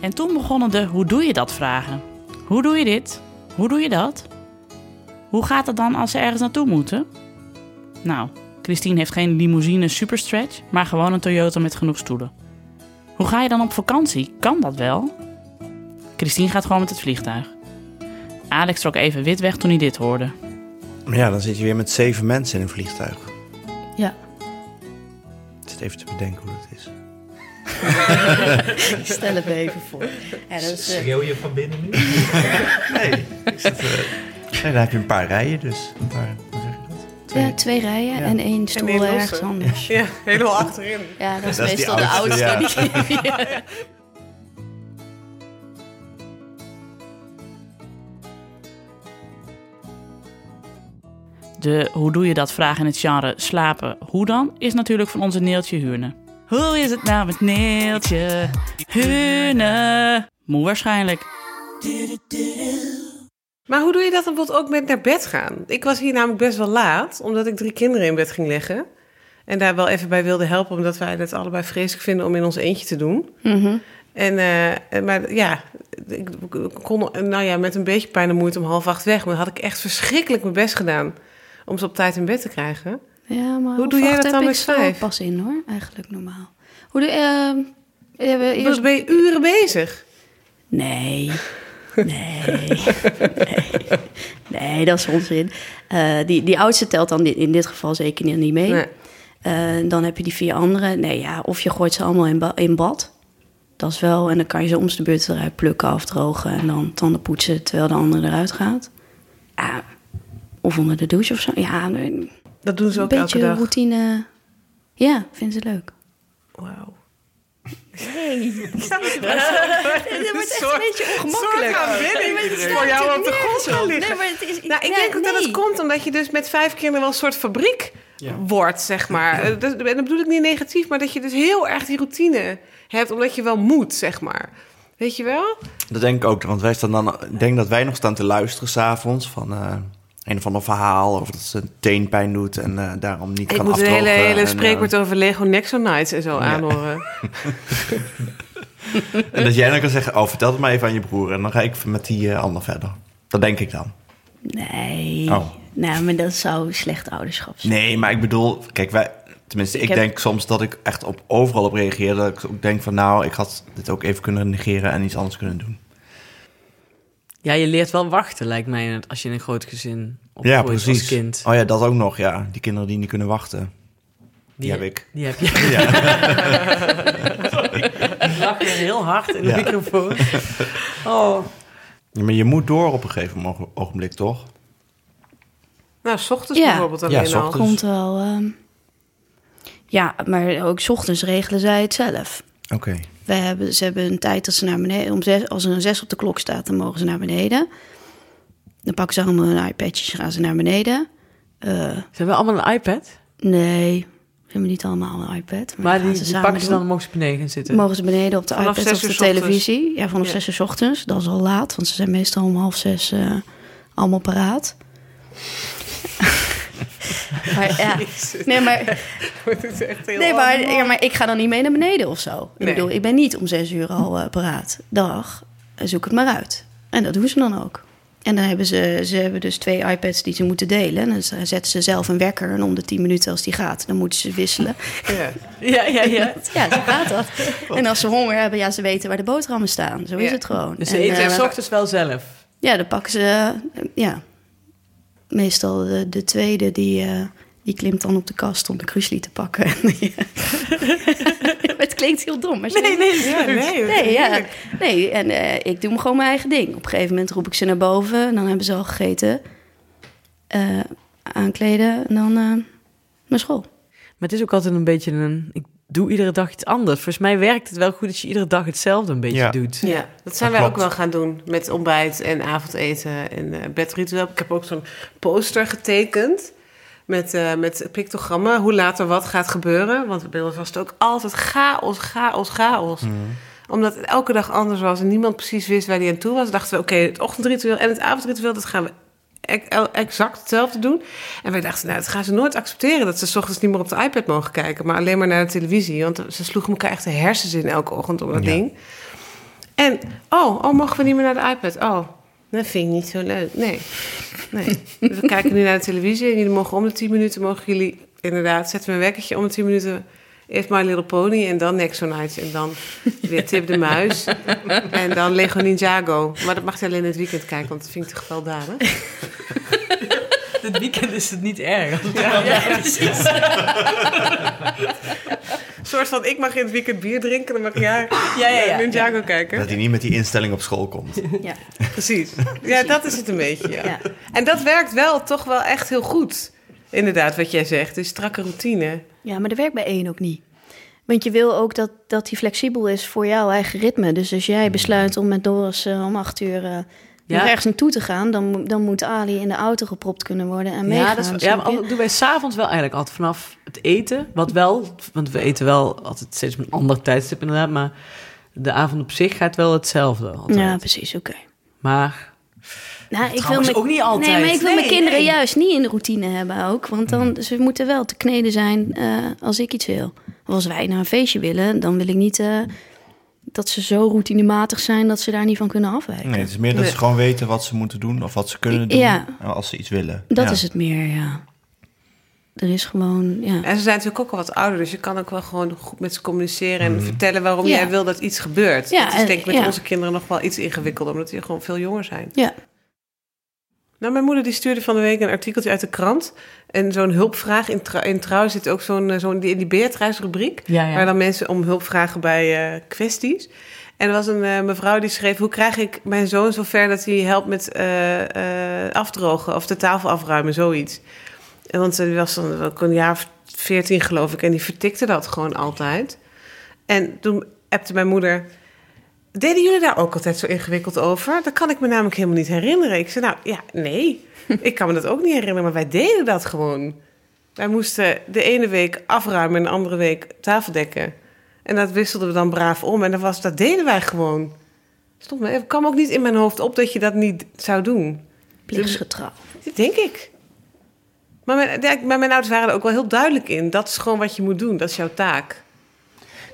En toen begonnen de hoe doe je dat vragen. Hoe doe je dit? Hoe doe je dat? Hoe gaat het dan als ze ergens naartoe moeten? Nou, Christine heeft geen limousine superstretch, maar gewoon een Toyota met genoeg stoelen. Hoe ga je dan op vakantie? Kan dat wel? Christine gaat gewoon met het vliegtuig. Alex trok even wit weg toen hij dit hoorde. Maar ja, dan zit je weer met zeven mensen in een vliegtuig. Ja. Ik zit even te bedenken hoe dat is. Stel het me even voor. Ja, dat is, eh, Schreeuw je van binnen nu? Nee, ik zit, eh, nee, dan heb je een paar rijen dus. Een paar, hoe zeg je dat? Twee. ja, twee rijen Ja. en één stoel één losse. ergens anders. Ja, helemaal achterin. Ja, dat is Dat is die meestal de oudste, oudste. De hoe doe je dat vraag in het genre slapen, hoe dan, is natuurlijk van onze Neeltje Huurne. Hoe is het nou met Neeltje Huurne? Moe waarschijnlijk. Maar hoe doe je dat dan bijvoorbeeld ook met naar bed gaan? Ik was hier namelijk best wel laat, omdat ik drie kinderen in bed ging leggen. En daar wel even bij wilde helpen, omdat wij het allebei vreselijk vinden om in ons eentje te doen. Mhm. En, eh, maar ja, ik kon nou ja, met een beetje pijn en moeite om half acht weg. Maar had ik echt verschrikkelijk mijn best gedaan om ze op tijd in bed te krijgen. Ja, maar Hoe doe half jij acht dat dan heb met ik zo vijf? Pas in hoor, eigenlijk normaal. Hoe doe je? we Dus eerst... ben je uren bezig. Nee. Nee. nee. Nee, dat is onzin. Eh, die, die oudste telt dan di- in dit geval zeker niet- niet mee. Nee. Eh, dan heb je die vier anderen. Nee, ja, of je gooit ze allemaal in, ba- in bad. Dat is wel. En dan kan je ze om de beurt eruit plukken, afdrogen en dan tanden poetsen terwijl de andere eruit gaat. Ja, of onder de douche of zo. Ja, een Dat doen ze ook elke beetje dag. routine. Ja, vinden ze leuk. Wauw. Het wordt echt soort- een beetje ongemakkelijk. soort aanbidding Nee, maar het slaat voor jou natuurlijk op de nergens grond gaan op. liggen. Nee, maar het is... Nou, ik nee, denk ook dat nee. het komt omdat je dus met vijf kinderen wel een soort fabriek wordt, zeg maar. Eh, dus- en dat bedoel ik niet negatief, maar dat je dus heel erg die routine hebt, omdat je wel moet, zeg maar. Weet je wel? Dat denk ik ook, want wij staan dan, ik denk dat wij nog staan te luisteren s'avonds van eh, een of ander verhaal of dat ze een teenpijn doet en eh, daarom niet Ik kan moet een afdrogen. hele, hele en, spreekwoord over Lego Nexo Nights en zo aanhoren. eh, en dat jij dan kan zeggen, oh vertel het maar even aan je broer en dan ga ik met die eh, ander verder. Dat denk ik dan. Nee. Oh. Nou, maar dat zou slecht ouderschap zijn. Nee, maar ik bedoel, kijk, wij, tenminste, ik, heb- denk soms dat ik echt op, overal op reageer. Dat ik ook denk van, nou, ik had dit ook even kunnen negeren en iets anders kunnen doen. Ja, je leert wel wachten, lijkt mij, als je in een groot gezin opgroeit ja, precies. als kind. Oh ja, dat ook nog, ja. Die kinderen die niet kunnen wachten. Die heb ik. Die heb je. Ja, Ik lach weer heel hard in de Ja. microfoon. Oh. Ja, maar je moet door op een gegeven mo- ogenblik, toch? Nou, s ochtends Ja. bijvoorbeeld alleen Ja, s al. ochtends. Komt wel... ehm, Ja, maar ook 's ochtends regelen zij het zelf. Oké. Wij hebben, ze hebben een tijd dat ze naar beneden... Om zes, als er een zes op de klok staat, dan mogen ze naar beneden. Dan pakken ze allemaal hun iPadjes, gaan ze naar beneden. Eh, Ze hebben allemaal een iPad, nee, ze hebben niet allemaal een iPad. Maar, maar dat gaan die, ze die samen pakken ze doen. dan mogen ze beneden gaan zitten. Mogen ze beneden op de Vanaf iPad of zes de uur 's televisie? Ja, vanaf Ja. zes uur 's ochtends. Dat is al laat, want ze zijn meestal om half zes eh, allemaal paraat. maar ja, nee, maar, Het is echt heel nee maar, allemaal. ja, maar ik ga dan niet mee naar beneden of zo. Ik Nee. bedoel, ik ben niet om zes uur al eh, paraat. Dag, eh, zoek het maar uit. En dat doen ze dan ook. En dan hebben ze, ze hebben dus twee iPads die ze moeten delen. En dan zetten ze zelf een wekker. En om de tien minuten als die gaat, dan moeten ze wisselen. Ja. Ja, ja, ja. Ja, zo gaat dat. En als ze honger hebben, ja, ze weten waar de boterhammen staan. Zo is Ja. het gewoon. Dus ze En, eten eh, s ochtends wel zelf. Ja, dan pakken ze... eh, ja, meestal de, de tweede, die, eh, die klimt dan op de kast om de krusli te pakken. Maar het klinkt heel dom. Maar ze- nee, ja, nee. Nee, ja. nee, en eh, ik doe me gewoon mijn eigen ding. Op een gegeven moment roep ik ze naar boven, dan hebben ze al gegeten. eh, aankleden dan eh, naar school. Maar het is ook altijd een beetje een... Ik doe iedere dag iets anders. Volgens mij werkt het wel goed dat je iedere dag hetzelfde een beetje Ja. doet. Ja, dat zijn Dat wij ook klopt. wel gaan doen met ontbijt en avondeten en eh, bedritueel. Ik heb ook zo'n poster getekend met, eh, met pictogrammen, hoe later wat gaat gebeuren. Want bij ons was het ook altijd chaos, chaos, chaos. Omdat het elke dag anders was en niemand precies wist waar die aan toe was, dachten we: oké, het ochtendritueel en het avondritueel, dat gaan we ec- el- exact hetzelfde doen. En wij dachten: nou, dat gaan ze nooit accepteren dat ze 's ochtends niet meer op de iPad mogen kijken, maar alleen maar naar de televisie. Want ze sloegen elkaar echt de hersens in elke ochtend om dat Ja. ding. En, oh, oh, mogen we niet meer naar de iPad? Oh, dat vind ik niet zo leuk. Nee. nee. Dus we kijken nu naar de televisie en jullie mogen om de 10 minuten, mogen jullie inderdaad, zetten we een wekkertje om de 10 minuten. Eerst My Little Pony en dan Nexonite. En dan weer Tip de Muis. en dan Lego Ninjago. Maar dat mag je alleen in het weekend kijken, want dat vind ik te gewelddadig. Dit weekend is het niet erg. Een soort van, ik mag in het weekend bier drinken, dan mag jij Ja, ja, ja. Ninjago kijken. Dat hij niet met die instelling op school komt. Ja. Precies. Ja, dat is het een beetje, ja. Ja. En dat werkt wel toch wel echt heel goed. Inderdaad, wat jij zegt. Dus strakke routine. Ja, maar dat werkt bij één ook niet. Want je wil ook dat, dat die flexibel is voor jouw eigen ritme. Dus als Hmm. jij besluit om met Doris eh, om acht uur eh, nog ergens naartoe te gaan... Dan, mo- dan moet Ali in de auto gepropt kunnen worden en meegaan. Ja, dat is, ja, maar al- doen wij s'avonds wel eigenlijk altijd vanaf het eten. Wat wel, want we eten wel altijd steeds op een ander tijdstip inderdaad. Maar de avond op zich gaat wel hetzelfde altijd. ja precies, oké. Maar Nou, ik wil Trouwens mijn, ook niet altijd. Nee, maar ik wil Nee, mijn kinderen nee. Hmm. juist niet in de routine hebben ook. Want dan, ze moeten wel te kneden zijn eh, als ik iets wil. Of als wij naar een feestje willen, dan wil ik niet eh, dat ze zo routinematig zijn... dat ze daar niet van kunnen afwijken. Nee, het is meer dat Nee. ze gewoon weten wat ze moeten doen of wat ze kunnen doen eh, Ja. als ze iets willen. Dat Ja. is het meer, ja. Er is gewoon, ja. En ze zijn natuurlijk ook al wat ouder, dus je kan ook wel gewoon goed met ze communiceren en vertellen waarom Ja. jij wil dat iets gebeurt. Ja, dat is en- denk ik met ja. onze kinderen nog wel iets ingewikkelder, omdat die gewoon veel jonger zijn. Ja. Nou, mijn moeder die stuurde van de week een artikeltje uit de krant. En zo'n hulpvraag. In, trouw- in trouw zit ook zo'n, eh, zo'n die in die Beatrice-rubriek. Ja, ja. Waar dan mensen om hulp vragen bij eh, kwesties. En er was een eh, mevrouw die schreef: Hoe krijg ik mijn zoon zover dat hij helpt met eh, eh, afdrogen of de tafel afruimen, zoiets. En want die was dan ook een jaar of veertien, geloof ik. En die vertikte dat gewoon altijd. En toen appte mijn moeder... Deden jullie daar ook altijd zo ingewikkeld over? Dat kan ik me namelijk helemaal niet herinneren. Ik zei, nou ja, nee. Ik kan me dat ook niet herinneren, maar wij deden dat gewoon. Wij moesten de ene week afruimen en de andere week tafeldekken. En dat wisselden we dan braaf om. En dat, was, dat deden wij gewoon. Stop me, het kwam ook niet in mijn hoofd op dat je dat niet zou doen. Plichtsgetrouw. Dat denk ik. Maar mijn, ja, maar mijn ouders waren er ook wel heel duidelijk in. Dat is gewoon wat je moet doen. Dat is jouw taak.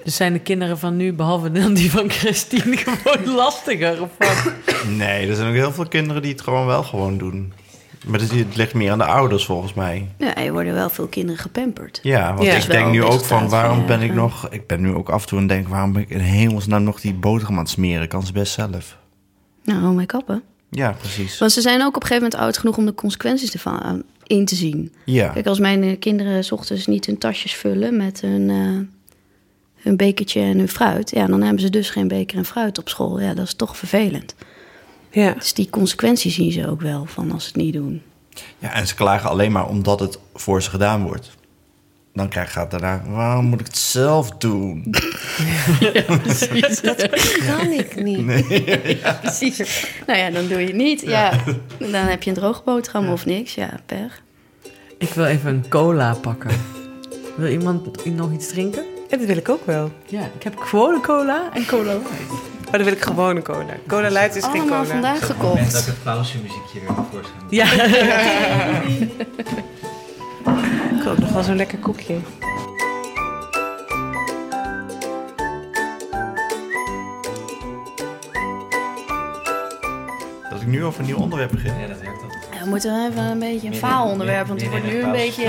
dus zijn de kinderen van nu, behalve dan die van Christine, gewoon lastiger? Of wat? Nee, er zijn ook heel veel kinderen die het gewoon wel gewoon doen. Maar dat, het ligt meer aan de ouders volgens mij. Ja, er worden wel veel kinderen gepamperd. Ja, want Ja. ik Is wel denk nu best ook van staat van, waarom ja, ben ik ja. nog... Ik ben nu ook af en toe en denk waarom ben ik in hemelsnaam nog die boterham aan het smeren? Kan ze best zelf. Nou, hou mij kappen. Ja, precies. Want ze zijn ook op een gegeven moment oud genoeg om de consequenties ervan aan- in te zien. Ja, Kijk, als mijn eh, kinderen 's ochtends niet hun tasjes vullen met hun, eh, hun bekertje en hun fruit... ja, dan hebben ze dus geen beker en fruit op school. Ja, dat is toch vervelend. Ja. Dus die consequenties zien ze ook wel van als ze het niet doen. ja, en ze klagen alleen maar omdat het voor ze gedaan wordt. Dan krijg je daarna, waarom moet ik het zelf doen? Kan ik niet. Precies. Nou ja, dan doe je het niet. Ja. Dan heb je een droge boterham of niks. Ja, per. Ik wil even een cola pakken. Wil iemand nog iets drinken? En dat wil ik ook wel. Ja, ik heb gewone cola en cola light. Maar dan wil ik gewoon een cola. Cola light is geen cola. Allemaal vandaag En dat gekocht. het pauzemuziekje weer naar voren gaat. Ja. Ik koop nog wel zo'n lekker koekje. Dat ik nu over een nieuw onderwerp begin. Ja, dat werkt altijd. Ja, we moeten even een beetje een faalonderwerp, want het wordt nu een Midden- beetje... De,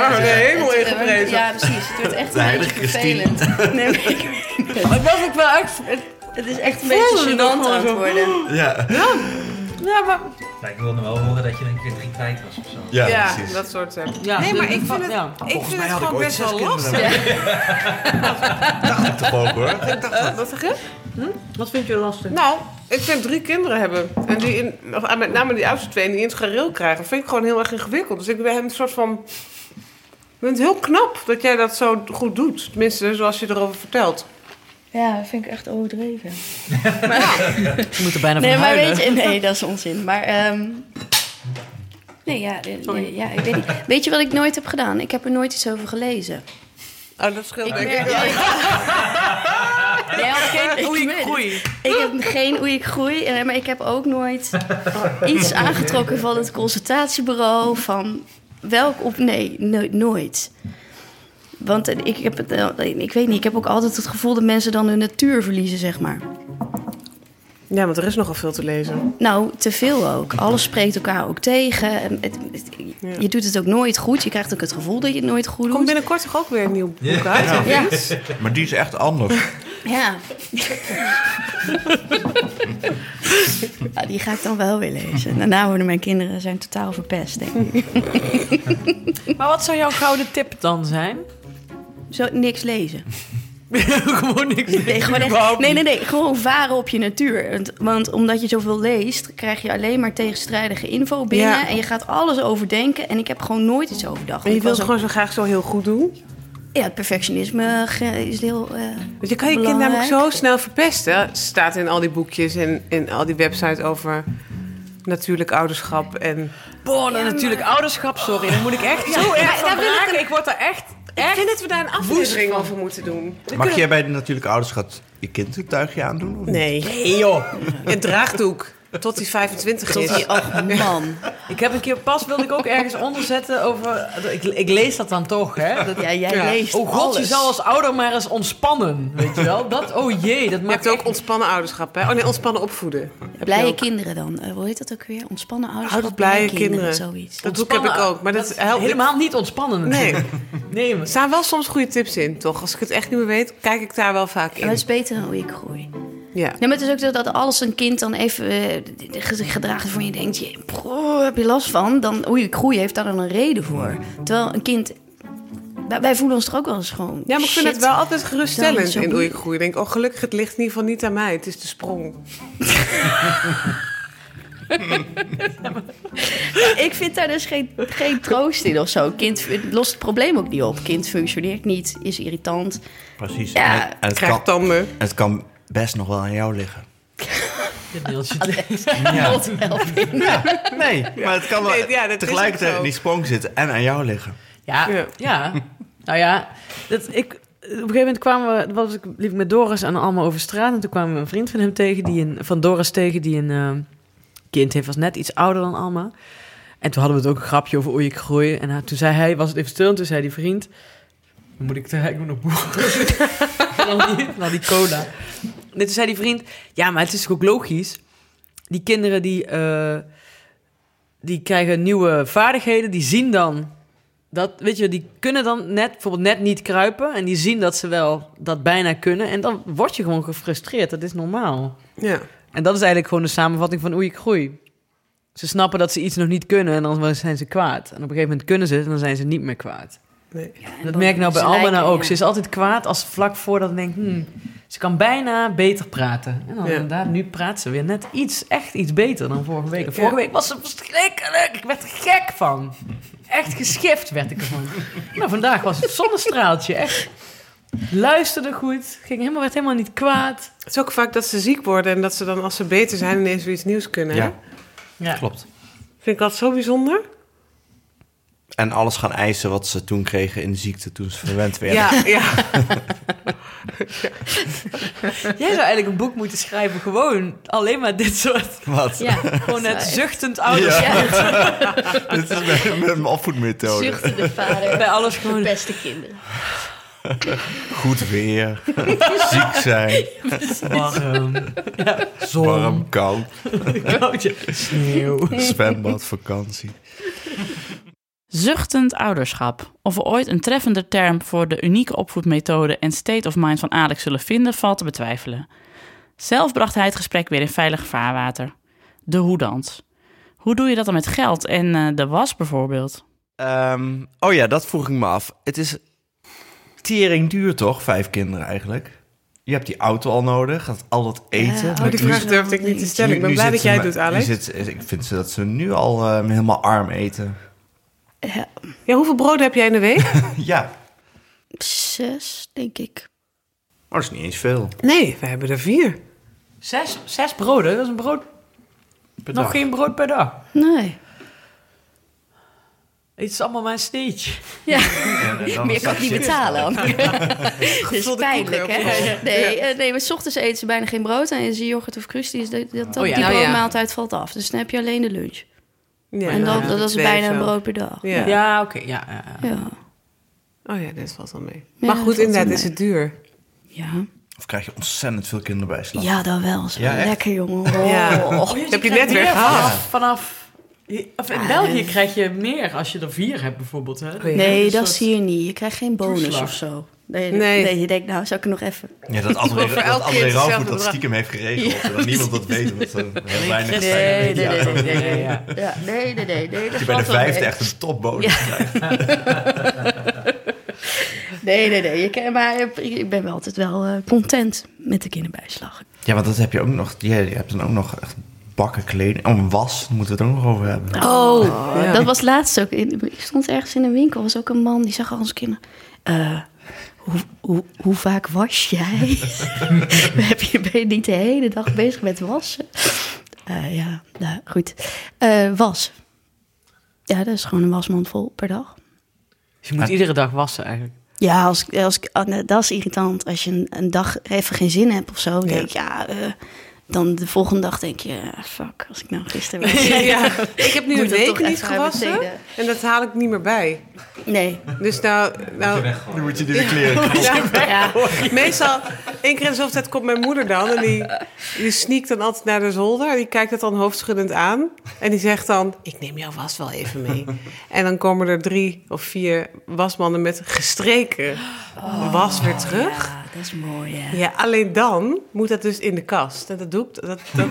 Oh, de hemel het- het- ingeprezen. Ja, precies. Het wordt echt De een beetje heilige Christine. vervelend. Nee, maar ik weet het. Het was ook wel echt... Het is echt een beetje gênant aan het worden. Ja, Ja, maar, Maar ik wilde wel horen dat je er een keer drie kwijt was of zo. ja, ja, precies. dat soort... eh, Ja. Nee, maar ik vind het, Ja. ik vind het had ik gewoon ooit best zes wel kinderen. lastig. Toch ook hoor. Ik dacht, Eh, wat zeg je? Wat vind je lastig? Nou, Ik vind drie kinderen hebben. En die in, of met name die oudste twee, en die in het gareel krijgen. vind ik gewoon heel erg ingewikkeld. Dus ik ben een soort van... Ik vind het heel knap dat jij dat zo goed doet. Tenminste, zoals je erover vertelt. Ja, dat vind ik echt overdreven. Je moet er bijna Nee, van maar huilen. weet je, nee, dat is onzin. Maar, ehm, nee, ja, de- de- ja, ik weet niet. Weet je wat ik nooit heb gedaan? Ik heb er nooit iets over gelezen. Oh, dat scheelt denk ik. Ja, ik- Jij had geen hoe ik groei. Ik heb geen hoe ik groei, eh, maar ik heb ook nooit iets aangetrokken van het consultatiebureau. Van welk op. Nee, nooit. nooit. Want eh, ik heb het. eh, Ik weet niet, ik heb ook altijd het gevoel dat mensen dan hun natuur verliezen, zeg maar. Ja, want er is nogal veel te lezen. Nou, te veel ook. Alles spreekt elkaar ook tegen. En het- het- Je doet het ook nooit goed. Je krijgt ook het gevoel dat je het nooit goed doet. Komt binnenkort toch ook weer een nieuw boek uit? Ja. Ja. Maar die is echt anders. Ja. Ja, die ga ik dan wel weer lezen. Daarna worden mijn kinderen zijn totaal verpest, denk ik. Maar wat zou jouw gouden tip dan zijn? Zo, niks lezen. Gewoon niks. Nee, gewoon echt, nee, nee, nee. Gewoon varen op je natuur. Want, want omdat je zoveel leest, krijg je alleen maar tegenstrijdige info binnen. Ja. En je gaat alles overdenken. En ik heb gewoon nooit iets overdacht. En je Ik was wilt ook- gewoon zo graag zo heel goed doen. Ja, het perfectionisme ge- is heel... eh, Want je kan je kind Belangrijk. namelijk zo snel verpesten. Staat in al die boekjes en in al die websites over natuurlijk ouderschap. En Boah, dan natuurlijk ouderschap, sorry. Dan moet ik echt zo maar erg van daar wil ik raken. een- Ik word daar echt... ik vind dat we daar een aflevering over moeten doen. Mag jij bij de natuurlijke ouderschap je kind een tuigje aandoen? Of niet? Nee. Nee, joh. Een draagdoek. Tot die 25 tot is. die, oh man. Ik heb een keer pas, wilde ik ook ergens onderzetten over... Ik, ik lees dat dan toch, hè? Dat- Ja, jij Ja. leest oh god, je alles. zou als ouder maar eens ontspannen, weet je wel? Dat, oh jee, dat Je maakt hebt ook ontspannen ouderschap, hè? Oh nee, ontspannen opvoeden. Heb je Blije ook. kinderen dan. Eh, hoe heet dat ook weer? Ontspannen ouders. Ouders, blije kinderen. Zoiets. Dat boek heb ik Ontspannen- ook, maar dat helpt niet. Helemaal niet ontspannen Nee, natuurlijk. er Nee, maar... staan wel soms goede tips in, toch? Als ik het echt niet meer weet, kijk ik daar wel vaak Ja, maar in. dat is beter dan hoe ik groei. Nee, Ja. maar het is ook zo dat als een kind dan even eh, ge- gedraagt waarvan je denkt... Je, bro, heb je last van? Dan, oei, ik groei heeft daar dan een reden voor. Terwijl een kind... Wij, wij voelen ons er ook wel eens gewoon... Ja, maar ik vind shit. het wel altijd Dan geruststellend zo in hoe ik boeien. groei. Ik denk, oh gelukkig, het ligt in ieder geval niet aan mij. Het is de sprong. Ik vind daar dus geen, geen troost in of zo. Kind het lost het probleem ook niet op. Kind functioneert niet, is irritant. Precies. Ja, En- en het, Krijgt kan, tanden. het kan best nog wel aan jou liggen. Dit deeltje. Ja. God help. Nee, maar het kan wel Nee, ja, dat is ook tegelijkertijd zo. in die sprong zitten en aan jou liggen. Ja, Ja. ja. Nou ja, dat, ik, op een gegeven moment kwamen we, was ik, liep ik met Doris en allemaal over straat. En toen kwamen we een vriend van hem tegen, die een, van Doris tegen, die een eh, kind heeft, was net iets ouder dan Alma. En toen hadden we het ook een grapje over oei, ik groei. En hij- toen zei hij, was het even stil, en toen zei die vriend... Dan moet ik te ik moet nog boeren. en dan die, dan die cola. En toen zei die vriend, ja, maar het is toch ook logisch. Die kinderen die, eh, die krijgen nieuwe vaardigheden, die zien dan dat, weet je, die kunnen dan net, bijvoorbeeld net niet kruipen. En die zien dat ze wel dat bijna kunnen. En dan word je gewoon gefrustreerd. Dat is normaal. Ja. En dat is eigenlijk gewoon de samenvatting van oei, ik groei. Ze snappen dat ze iets nog niet kunnen en dan zijn ze kwaad. En op een gegeven moment kunnen ze het en dan zijn ze niet meer kwaad. Nee. En dat merk ik nou bij Ze Alma lijken, nou ook. ja. Ze is altijd kwaad als vlak voordat ik denk, hmm, ze kan bijna beter praten. En dan Ja. inderdaad, nu praat ze weer net iets, echt iets beter dan vorige week. En Ja. vorige week was ze verschrikkelijk. Ik werd er gek van. Echt geschift werd ik ervan. nou, vandaag was het zonnestraaltje. Echt. Luisterde goed. Ging helemaal, werd helemaal niet kwaad. Het is ook vaak dat ze ziek worden en dat ze dan als ze beter zijn ineens weer iets nieuws kunnen. hè? Ja. Ja. Klopt. Vind ik dat zo bijzonder? En alles gaan eisen wat ze toen kregen in de ziekte toen ze verwend werden. ja. ja. Jij zou eigenlijk een boek moeten schrijven, gewoon alleen maar dit soort. Wat? Ja, Gewoon het Zo. zuchtend ouders. Ja, Dit is met, met mijn opvoedmethode. zuchtende vader. Bij alles gewoon. Beste kinderen. Goed weer, ziek zijn, ehm, Warm. Ja, zon. warm, koud, koud, ja. Sneeuw. zwembad, vakantie. Zuchtend ouderschap. Of we ooit een treffender term voor de unieke opvoedmethode en state of mind van Alex zullen vinden, valt te betwijfelen. Zelf bracht hij het gesprek weer in veilig vaarwater. De hoedans. Hoe doe je dat dan met geld en eh, de was bijvoorbeeld? Ehm, oh ja, dat vroeg ik me af. Het is tering duur toch, vijf kinderen eigenlijk? je hebt die auto al nodig, gaat al dat eten. Ja, Oh, die Nu- vraag durfde ik niet te stellen. Ik ben nu blij zit dat ze jij het me- doet, Alex. nu zit ze- ik vind ze dat ze nu al eh, helemaal arm eten. Ja, Ja, hoeveel brood heb jij in de week? ja, zes, denk ik. maar dat is niet eens veel. Nee, we hebben er vier. Zes, zes broden, dat is een brood. Per nog dag. geen brood per dag. Nee. Het is allemaal mijn sneetje. Ja, En- en dan meer is kan dat ik niet shit. betalen. Anne. Dat is pijnlijk, hè? Nee, eh, nee, maar s ochtends eten ze bijna geen brood. En is yoghurt of crusties, dat, dat, dat Oh ja. die Oh ja. maaltijd valt af. Dus dan heb je alleen de lunch. Ja, en dan, ja, dat is twee bijna of een zo. brood per dag. Ja. Ja, oké. ja, ja, ja. Ja. Oh ja, dit valt wel mee. Ja, maar dat goed, valt inderdaad wel is mee. het duur. Ja. Of krijg je ontzettend veel kinderbijslag. ja, dan wel. Zo Ja, echt? lekker, jongen. Oh. Ja. Dat heb je net weer gehad. Vanaf, vanaf, of in Ah, België eh. krijg je meer als je er vier hebt bijvoorbeeld. Hè? ja. Nee, Een dat soort- zie je niet. Je krijgt geen bonus Toeslag. of zo. Nee, Nee. nee. je denkt, nou, zou ik er nog even... Ja, dat André, Voor elk dat kind André hetzelfde Rauwvoet dat bedrag. stiekem heeft geregeld. Ja. En dat niemand dat weet. omdat er heel weinig Nee, zijn. nee, nee, nee, nee, nee. Ja. Ja, nee, nee, nee, nee. Dat Dat je bij de valt wel vijfde mee. echt een topbonus Ja. krijgt. Nee, nee, nee. Je kan, maar ik- ik ben wel altijd wel eh, content met de kinderbijslag. Ja, want dat heb je ook nog. Je hebt dan ook nog echt bakken kleding. Oh, een was, daar moeten we het ook nog over hebben. Oh, ja. dat was laatst ook. in- Ik stond ergens in een winkel. was ook een man die zag al onze kinderen. Eh, hoe, hoe, hoe vaak was jij? Heb je, ben je niet de hele dag bezig met wassen? Eh, ja, nou goed. Eh, was. Ja, dat is gewoon een wasmand vol per dag. Dus je moet iedere dag wassen eigenlijk. Ja, als, ik- als, ik- ah, nee, dat is irritant. Als je een, een dag even geen zin hebt of zo, dan Ja. denk je, ja, eh, dan de volgende dag denk je, ah, fuck, als ik nou gisteren was. Ja. Ik heb nu Moet een het toch week niet echt gaan gewassen. besteden. En dat haal ik niet meer bij. Nee, Dus nou... nou Nu moet je nu de kleren kopen. Ja. ja, Meestal, één keer in de zoveel tijd komt mijn moeder dan. En die, die sneakt dan altijd naar de zolder. Die kijkt het dan hoofdschuddend aan. En die zegt dan, ik neem jou vast wel even mee. En dan komen er drie of vier wasmannen met gestreken Oh, was weer terug. ja, dat is mooi, hè. Ja, alleen dan moet dat dus in de kast. En dat doe ik... Dat, dat,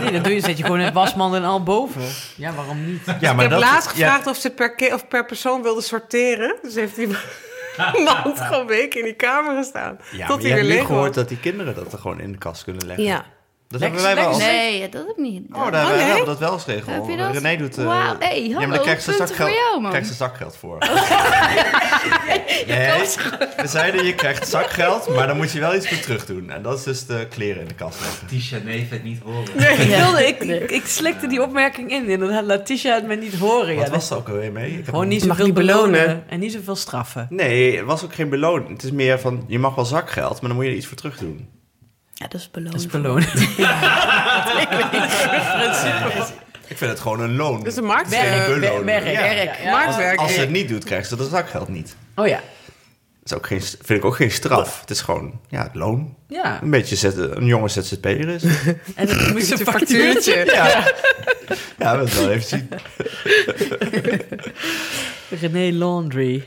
Nee, dat doe je, zet je gewoon het wasmand en al boven. Ja, waarom niet? Ja, ik heb dat- laatst ja, gevraagd of ze per, ke- of per persoon wilde sorteren. Dus heeft die man gewoon een week in die kamer gestaan. Ja, maar tot hij je weer hebt nu leeg gehoord was. dat die kinderen dat er gewoon in de kast kunnen leggen. Ja. Dat hebben wij wel. eens- Nee, ja, dat heb ik niet. Oh, daar Oh, wij nee? hebben we dat wel eens geregeld. Heb je dat? René doet... eh, Wauw, hey, ja, maar hallo, dan krijgt ze punten zakgeld, voor jou, man. Oh. krijgt ze zakgeld voor. nee, we zeiden je krijgt zakgeld, maar dan moet je wel iets voor terug doen. En dat is dus de kleren in de kast leggen. Tisha, nee, het niet horen. Ja. Ik, wilde, ik, ik, ik slikte die opmerking in en dan had Letitia het me niet horen. Ja, Wat dat- was er ook alweer mee? Ik heb Gewoon hem- niet Oh, Mag zoveel niet belonen. belonen. en niet zoveel straffen. Nee, het was ook geen beloning. Het is meer van, je mag wel zakgeld, maar dan moet je er iets voor terug doen. Ja, dat is Eh, beloond. Dat is belonen. Ik vind het gewoon een loon. Dat is een Werk, marktwerk. belonen. Merk, Ja. merk. Ja. Marktwerk. Als ze het niet doet, krijgt ze dat zakgeld niet. Oh ja. Dat is ook geen, vind ik ook geen straf. Het is gewoon, ja, het loon. Ja. Een beetje zet, een jonge ZZP'er is. En dan moest je een factuurtje. factuurtje. Ja. ja, dat wel even zien. René Laundry.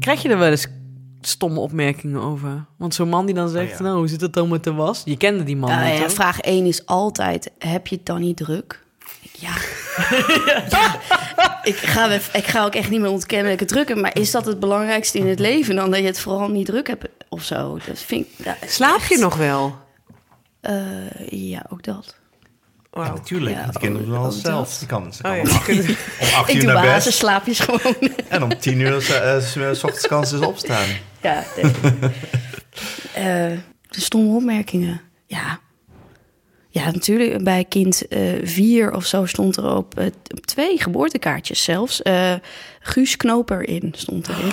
Krijg je er wel eens stomme opmerkingen over? Want zo'n man die dan zegt, Oh ja. Ah, nou, hoe zit het dan met de was? Je kende die man Nou niet, ja, hoor. vraag 1 is altijd: heb je het dan niet druk? Ja. ja. Ik, ga, wel- ik ga ook echt niet meer ontkennen dat ik het druk heb. Maar is dat het belangrijkste in het leven? Dan dat je het vooral niet druk hebt of zo. Dat vind ik. ja, Slaap je nog wel? eh, ja, ook dat. Ja, Wauw. natuurlijk. Ja, want die kinderen doen ook alles dat. zelf. Die kan, ze kan Oh, ja. om acht- om acht Ik uur doe naar bed. basisslaapjes gewoon. En om tien uur eh, s s ochtends kan ze dus opstaan. ja, nee. Eh, de stomme opmerkingen. Ja. Ja, natuurlijk. Bij kind eh, vier of zo stond er op, eh, t- op twee geboortekaartjes zelfs. eh, Guus Knoper in stond erin.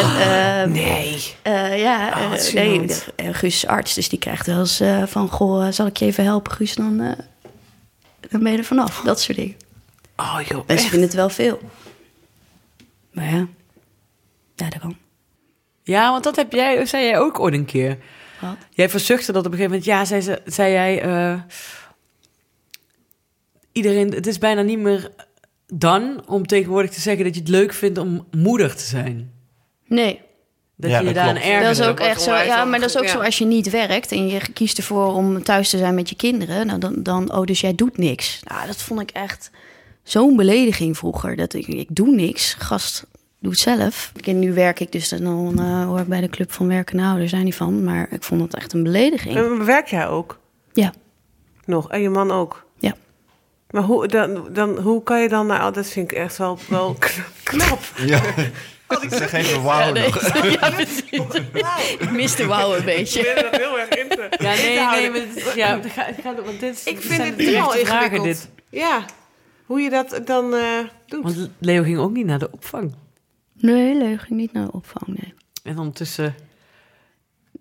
En, eh, Nee. eh, ja, Oh, wat eh, nee, gênant. eh, Guus is arts, dus die krijgt wel eens eh, van... Goh, eh, zal ik je even helpen, Guus? Dan, eh, dan ben je er vanaf. Dat soort dingen. Oh joh, Mensen echt? vinden het wel veel. Maar ja, ja dat kan. Ja, want dat heb jij, zei jij ook ooit een keer. Wat? Jij verzuchtte dat op een gegeven moment. Ja, zei, ze, zei jij... eh, iedereen, het is bijna niet meer dan om tegenwoordig te zeggen dat je het leuk vindt om moeder te zijn. Nee, Dat Ja, je je dat daar klopt. een erger... Dat is ook wordt echt zo. onwijs Ja, handig, maar dat is ook ja. zo als je niet werkt en je kiest ervoor om thuis te zijn met je kinderen. Nou, dan, dan oh, dus jij doet niks. Nou, dat vond ik echt zo'n belediging vroeger. Dat ik, ik doe niks. Gast, doe het zelf. Ik, en nu werk ik dus en dan eh, hoor ik bij de club van werkende ouders. Daar niet van, maar ik vond dat echt een belediging. En werk jij ook? Ja. Nog? En je man ook? Ja. Maar hoe, dan, dan, hoe kan je dan naar... oh, dat vind ik echt wel, wel knap. knap. Ja. Ik zeg even wauw nog. Ja, precies. Ik miste wauw een beetje. Ik ben er heel erg in te- Ja, nee, nee, houden. maar dit is- ja, het gaat- het gaat- want dit is- Ik dit vind zijn het terechte heel vragen, ingewikkeld. dit. Ja, hoe je dat dan eh, doet. Want Leo ging ook niet naar de opvang. Nee, leuk. Ging niet naar de opvang, nee. En ondertussen...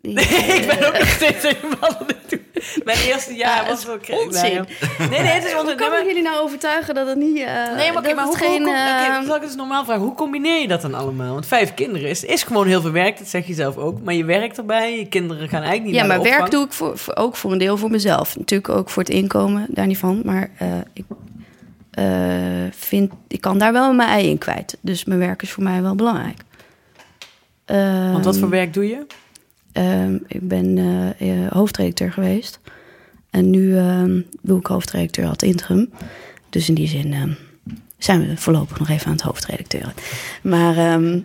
Die- ik ben ook nog steeds helemaal aan het doen. Mijn eerste jaar Ja, was het wel is crazy. onzin. Nee, nee, het is Hoe onzin. kan Nee, ik jullie nou overtuigen dat het niet... eh, Nee, maar, oké, dat maar het hoe, geen, geen, hoe, kom- oké, eh, dan zal ik dus normaal vragen. Hoe combineer je dat dan allemaal? Want vijf kinderen is, is gewoon heel veel werk. Dat zeg je zelf ook. Maar je werkt erbij. Je kinderen gaan eigenlijk niet Ja, naar maar de opvang. werk doe ik voor, voor- ook voor een deel voor mezelf. Natuurlijk ook voor het inkomen, daar niet van. Maar eh, ik, eh, vind, ik kan daar wel mijn ei in kwijt. Dus mijn werk is voor mij wel belangrijk. Want wat voor Ehm, werk doe je? ehm, ik ben eh, eh, hoofdredacteur geweest. En nu ehm, doe ik hoofdredacteur ad interim. Dus in die zin ehm, zijn we voorlopig nog even aan het hoofdredacteuren. Maar ehm,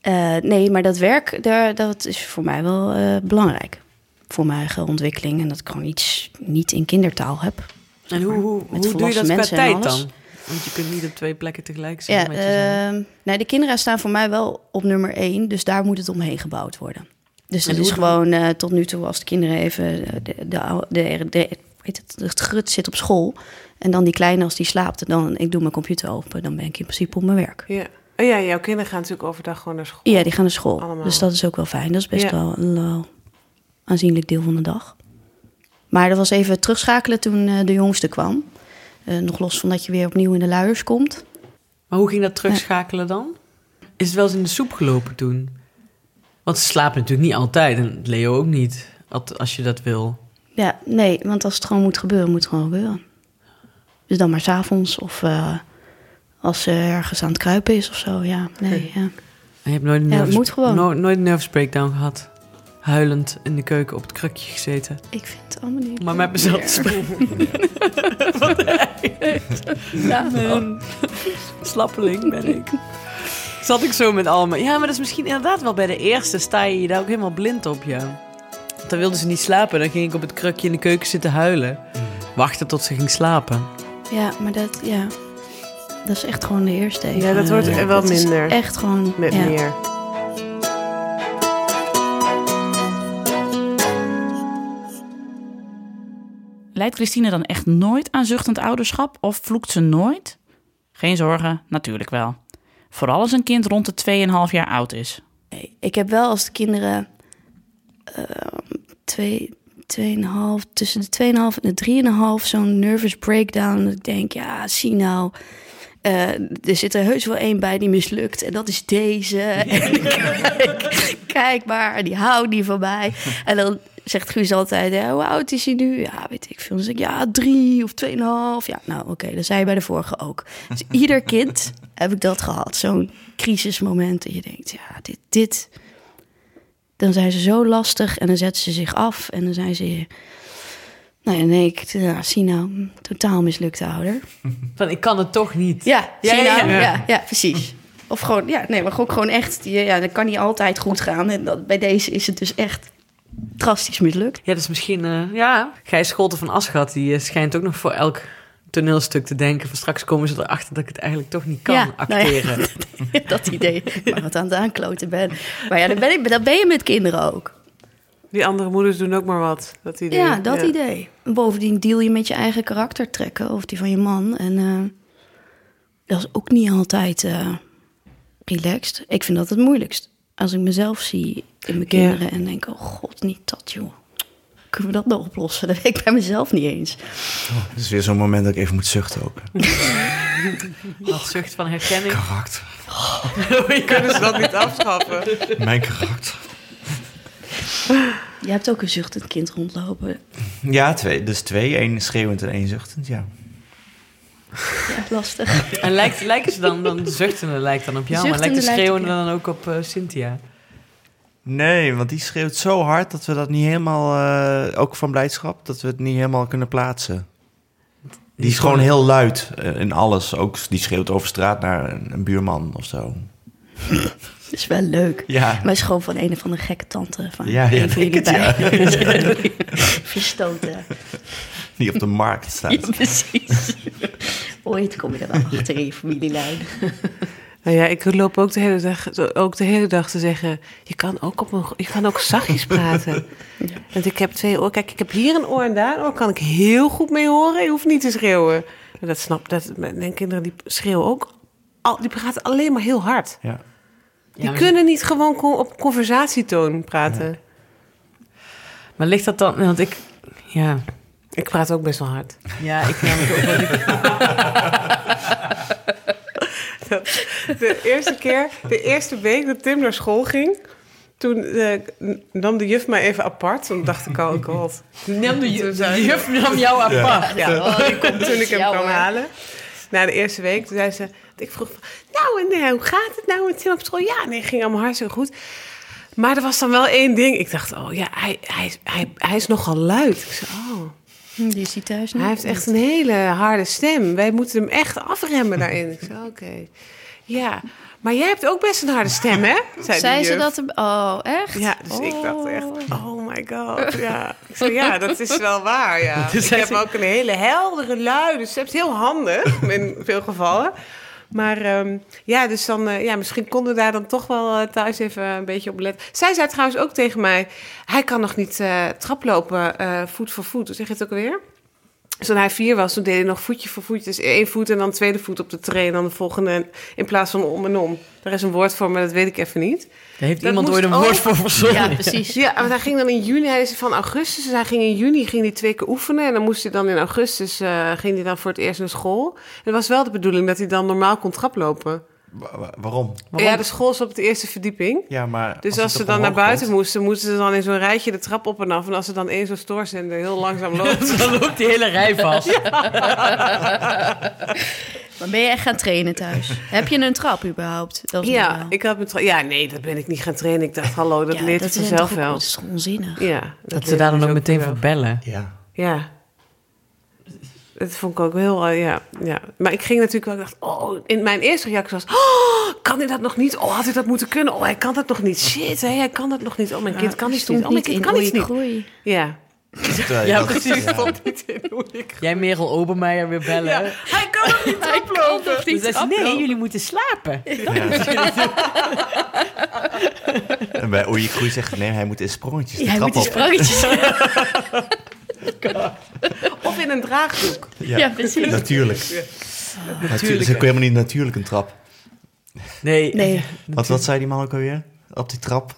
eh, nee, maar dat werk, daar, dat is voor mij wel eh, belangrijk. Voor mijn eigen ontwikkeling. En dat ik gewoon iets niet in kindertaal heb. En hoe, hoe, Met hoe doe je volwassen dat qua mensen en tijd alles. dan? Want je kunt niet op twee plekken tegelijk zijn. Ja, met je zoon. ehm, nee, de kinderen staan voor mij wel op nummer één. Dus daar moet het omheen gebouwd worden. Dus En het is hoe- gewoon eh, tot nu toe als de kinderen even... eh, De, de, oude- de, de, weet het, het grut zit op school. En dan die kleine als die slaapt. Dan ik doe mijn computer open. Dan ben ik in principe op mijn werk. Ja. Oh ja, jouw kinderen gaan natuurlijk overdag gewoon naar school. Ja, die gaan naar school. Allemaal. Dus dat is ook wel fijn. Dat is best Ja. wel een eh, aanzienlijk deel van de dag. Maar dat was even terugschakelen toen eh, de jongste kwam. Eh, nog los van dat je weer opnieuw in de luiers komt. Maar hoe ging dat terugschakelen dan? Is het wel eens in de soep gelopen toen? Want ze slapen natuurlijk niet altijd. En Leo ook niet. at- Als je dat wil. Ja, nee, want als het gewoon moet gebeuren, moet het gewoon gebeuren. Dus dan maar s'avonds of eh, als ze ergens aan het kruipen is of zo. Ja, nee, ja. En je hebt nooit een, Ja, dat nervous, moet gewoon. no- nooit een nervous breakdown gehad. Huilend in de keuken op het krukje gezeten. Ik vind het allemaal niet Maar met mezelf te spelen. Wat erg. Een Oh. Slappeling ben ik. Zat ik zo met Alma. Ja, maar dat is misschien inderdaad wel bij de eerste. Sta je je daar ook helemaal blind op, ja. Want Dan wilde ze niet slapen. Dan ging ik op het krukje in de keuken zitten huilen. Wachten tot ze ging slapen. Ja, maar dat, ja, dat is echt gewoon de eerste even. Ja, dat wordt Eh, er wel dat is minder. Echt gewoon, Met ja. meer. Leidt Christine dan echt nooit aan zuchtend ouderschap of vloekt ze nooit? Geen zorgen, natuurlijk wel. Vooral als een kind rond de 2,5 jaar oud is. Nee, ik heb wel als de kinderen ehm, twee, tweeënhalf, tussen de 2,5 en de drieënhalf zo'n nervous breakdown. Dat ik denk, ja, zie nou. eh, er zit er heus wel één bij die mislukt. En dat is deze. En kijk, kijk maar, die houdt niet van mij. En dan zegt Guus altijd, hè, hoe oud is hij nu? Ja, weet ik veel. Dan zeg ik, ja, drie of tweeënhalf. Ja, nou oké, dat zei je bij de vorige ook. Dus ieder kind heb ik dat gehad. Zo'n crisismoment dat je denkt, ja, dit, dit. Dan zijn ze zo lastig en dan zetten ze zich af en dan zijn ze... Nou ja, nee, ik nou, zie nou, totaal mislukte ouder. Van, ik kan het toch niet. Ja, Ja, zie je ja, nou? ja. ja, ja. precies. Of gewoon, ja, nee, maar ook gewoon echt, ja, ja, dat kan niet altijd goed gaan. En dat, bij deze is het dus echt drastisch mislukt. Ja, dat is misschien... eh, ja, Gijs Scholten van Aschat, die eh, schijnt ook nog voor elk toneelstuk te denken. Van straks komen ze erachter dat ik het eigenlijk toch niet kan Ja, nou ja. acteren. dat idee, maar wat aan het aankloten ben. Maar ja, dat ben, ik, dat ben je met kinderen ook. Die andere moeders doen ook maar wat. Dat idee. Ja, dat idee. Bovendien deal je met je eigen karaktertrekken of die van je man. En eh, dat is ook niet altijd eh, relaxed. Ik vind dat het moeilijkst. Als ik mezelf zie in mijn kinderen en denk, oh god, niet dat joh. Kunnen we dat nou oplossen? Dat weet ik bij mezelf niet eens. Het is weer zo'n moment dat ik even moet zuchten ook. Dat zucht van herkenning. Karakter. Kunnen ze dat niet afschaffen? Mijn karakter. Je hebt ook een zuchtend kind rondlopen. Ja, twee. Dus twee. één schreeuwend en één zuchtend, ja. Ja, lastig. En lijkt, lijken ze dan, dan de zuchtende lijkt dan op jou, maar lijkt zuchtende de lijkt op schreeuwende dan ook op eh, Cynthia? Nee, want die schreeuwt zo hard dat we dat niet helemaal, eh, ook van blijdschap, dat we het niet helemaal kunnen plaatsen. Die is gewoon heel luid eh, in alles. Ook die schreeuwt over straat naar een, een buurman of zo. Dat is wel leuk. Ja, Maar het is gewoon van een of andere gekke tante. Van Ja, ja, een van denk jullie het, beiden. Verstoten. die op de markt Ja, staat. precies. Ooit kom je er wel achter in je familielijn. Nou ja, ik loop ook de hele dag, ook de hele dag te zeggen... je kan ook, op een, je kan ook zachtjes praten. Want ik heb twee oor. Kijk, ik heb hier een oor en daar een oor. Kan ik heel goed mee horen. Je hoeft niet te schreeuwen. En dat snap dat Mijn kinderen die schreeuwen ook... Al, die praten alleen maar heel hard. Ja. Die kunnen niet gewoon co- op conversatietoon praten. Maar ligt dat dan... Want ik... Ja, Ik praat ook best wel hard. ja ik namelijk ook wel- De eerste keer, de eerste week dat Tim naar school ging... toen eh, nam de juf mij even apart. Toen dacht ik al, god... Nam de ju- de juf nam jou apart. Ja, toen ik dus hem Ja, kwam hoor. halen. Na de eerste week, toen zei ze... Ik vroeg, van, nou en eh, hoe gaat het nou met Tim op school? Ja, nee, ging allemaal hartstikke goed. Maar er was dan wel één ding. Ik dacht, oh ja, hij, hij, hij, hij is nogal luid. Ik zei, oh, Die is hij Hm, thuis niet. hij heeft echt een hele harde stem. Wij moeten hem echt afremmen daarin. Ik zei, oké. Ja, maar jij hebt ook best een harde stem, hè? Zei, Zei die ze juf. dat? hem- Oh, echt? Ja, dus ik dacht echt, Oh. oh my god, ja. Ik zei, ja, dat is wel waar, ja. Dus ik zij heb zei- ook een hele heldere lui, dus ze heeft heel handig in veel gevallen. Maar ehm, ja, dus dan, eh, ja, misschien konden we daar dan toch wel eh, thuis even een beetje op letten. Zij zei trouwens ook tegen mij, hij kan nog niet eh, traplopen, eh, voet voor voet. Hoe zeg je het ook alweer? Dus toen hij vier was, toen deed hij nog voetje voor voetje. Dus één voet en dan tweede voet op de train en dan de volgende in plaats van om en om. Daar is een woord voor, maar dat weet ik even niet. Daar heeft Dat iemand moest ooit een ook. woord voor verzonnen. Ja, precies. Ja, want hij ging dan in juni, hij is van augustus, dus hij ging in juni ging hij twee keer oefenen. En dan moest hij dan in augustus, eh, ging hij dan voor het eerst naar school. En het was wel de bedoeling dat hij dan normaal kon traplopen. Wa- wa- waarom? Ja, de school is op de eerste verdieping. Ja, maar Dus als, het ze op dan naar omhoog buiten komt- moesten, moesten ze dan in zo'n rijtje de trap op en af. En als er dan één zo'n stoorzender heel langzaam loopt. Dan loopt die hele rij vast. Maar ben je echt gaan trainen thuis? Heb je een trap überhaupt? Dat is nog ja, wel. ik had mijn tra- Ja, nee, dat ben ik niet gaan trainen. Ik dacht, hallo, dat Ja, leert dat je is vanzelf toch- wel. Dat is toch onzinnig? Ja, Dat ze leert daar je dan ook zo meteen vanzelf. voor bellen. Ja. Ja. Dat vond ik ook heel, eh, ja, ja. Maar ik ging natuurlijk wel, ik dacht, oh, in mijn eerste reactie was, oh, kan hij dat nog niet? Oh, had hij dat moeten kunnen? Oh, hij kan dat nog niet. Shit, hè, hij kan dat nog niet. Oh, mijn kind kan iets niet. Oh, mijn kind kan iets niet. groei. Ja. Terwijl je Ja, dat- precies. ja. niet in hoe ik... Jij Merel Obermeijer weer bellen. Ja, hij kan het niet oplopen. Dus zei ze, nee, jullie moeten slapen. En bij Oei Groei zegt nee, hij moet in sprongetjes. de Hij trap moet die op. sprangetjes. Ja, Of in een draagdoek. Ja, precies. natuurlijk. natuurlijk. Ze kon helemaal niet natuurlijk een trap. Nee, Nee, Wat, wat zei die man ook alweer? Op die trap?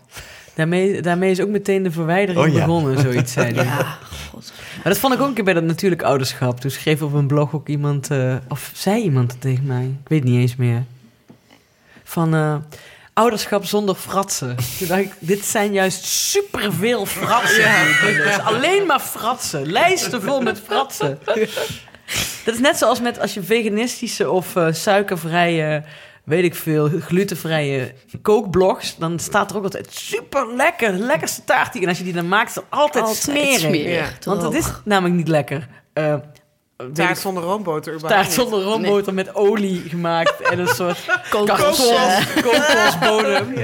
Daarmee, daarmee is ook meteen de verwijdering Oh ja. begonnen, zoiets zei hij. ja, Ah, god. Maar dat vond ik ook een keer bij dat natuurlijk ouderschap. Toen schreef op een blog ook iemand, eh, of zei iemand het tegen mij, ik weet niet eens meer. Van eh, ouderschap zonder fratsen. Toen dacht ik, dit zijn juist superveel fratsen. die ik lees. Alleen maar fratsen. Lijsten vol met fratsen. Dat is net zoals met als je veganistische of eh, suikervrije, weet ik veel, glutenvrije kookblogs. Dan staat er ook altijd super lekker, lekkerste taart. die- En als je die dan maakt, is het altijd, Altijd smerig. smerig, Ja, Want het toch? is namelijk niet lekker. Eh, weet Taart ik- zonder roomboter. taart überhaupt niet. zonder roomboter met olie gemaakt en een soort kokos. eh, kokos- kokosbodem.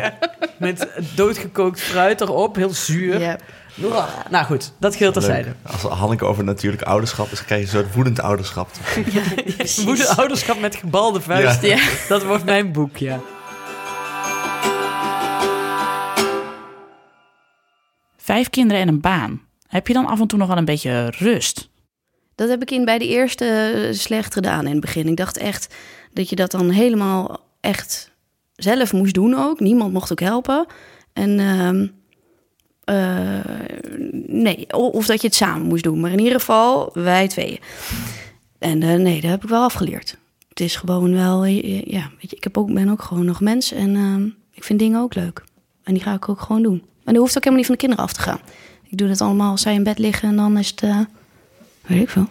Met doodgekookt fruit erop, heel zuur. Ja, Uah. Nou goed, dat geldt terzijde. Leuk. Als Hanneke over natuurlijk ouderschap is, krijg je een soort woedend ouderschap. precies. Moeder ouderschap met gebalde vuist. Ja. Dat wordt mijn boek, ja. Vijf kinderen en een baan. Heb je dan af en toe nog wel een beetje rust? Dat heb ik in bij de eerste eh, slecht gedaan in het begin. Ik dacht echt dat je dat dan helemaal echt zelf moest doen ook. Niemand mocht ook helpen. En ehm, eh, nee, o- of dat je het samen moest doen. Maar in ieder geval wij tweeën. En eh, nee, dat heb ik wel afgeleerd. Het is gewoon wel, eh, eh, ja, weet je, ik heb ook, ben ook gewoon nog mens en ehm, ik vind dingen ook leuk. En die ga ik ook gewoon doen. En dat hoeft ook helemaal niet van de kinderen af te gaan. Ik doe dat allemaal als zij in bed liggen en dan is het, eh, weet ik veel.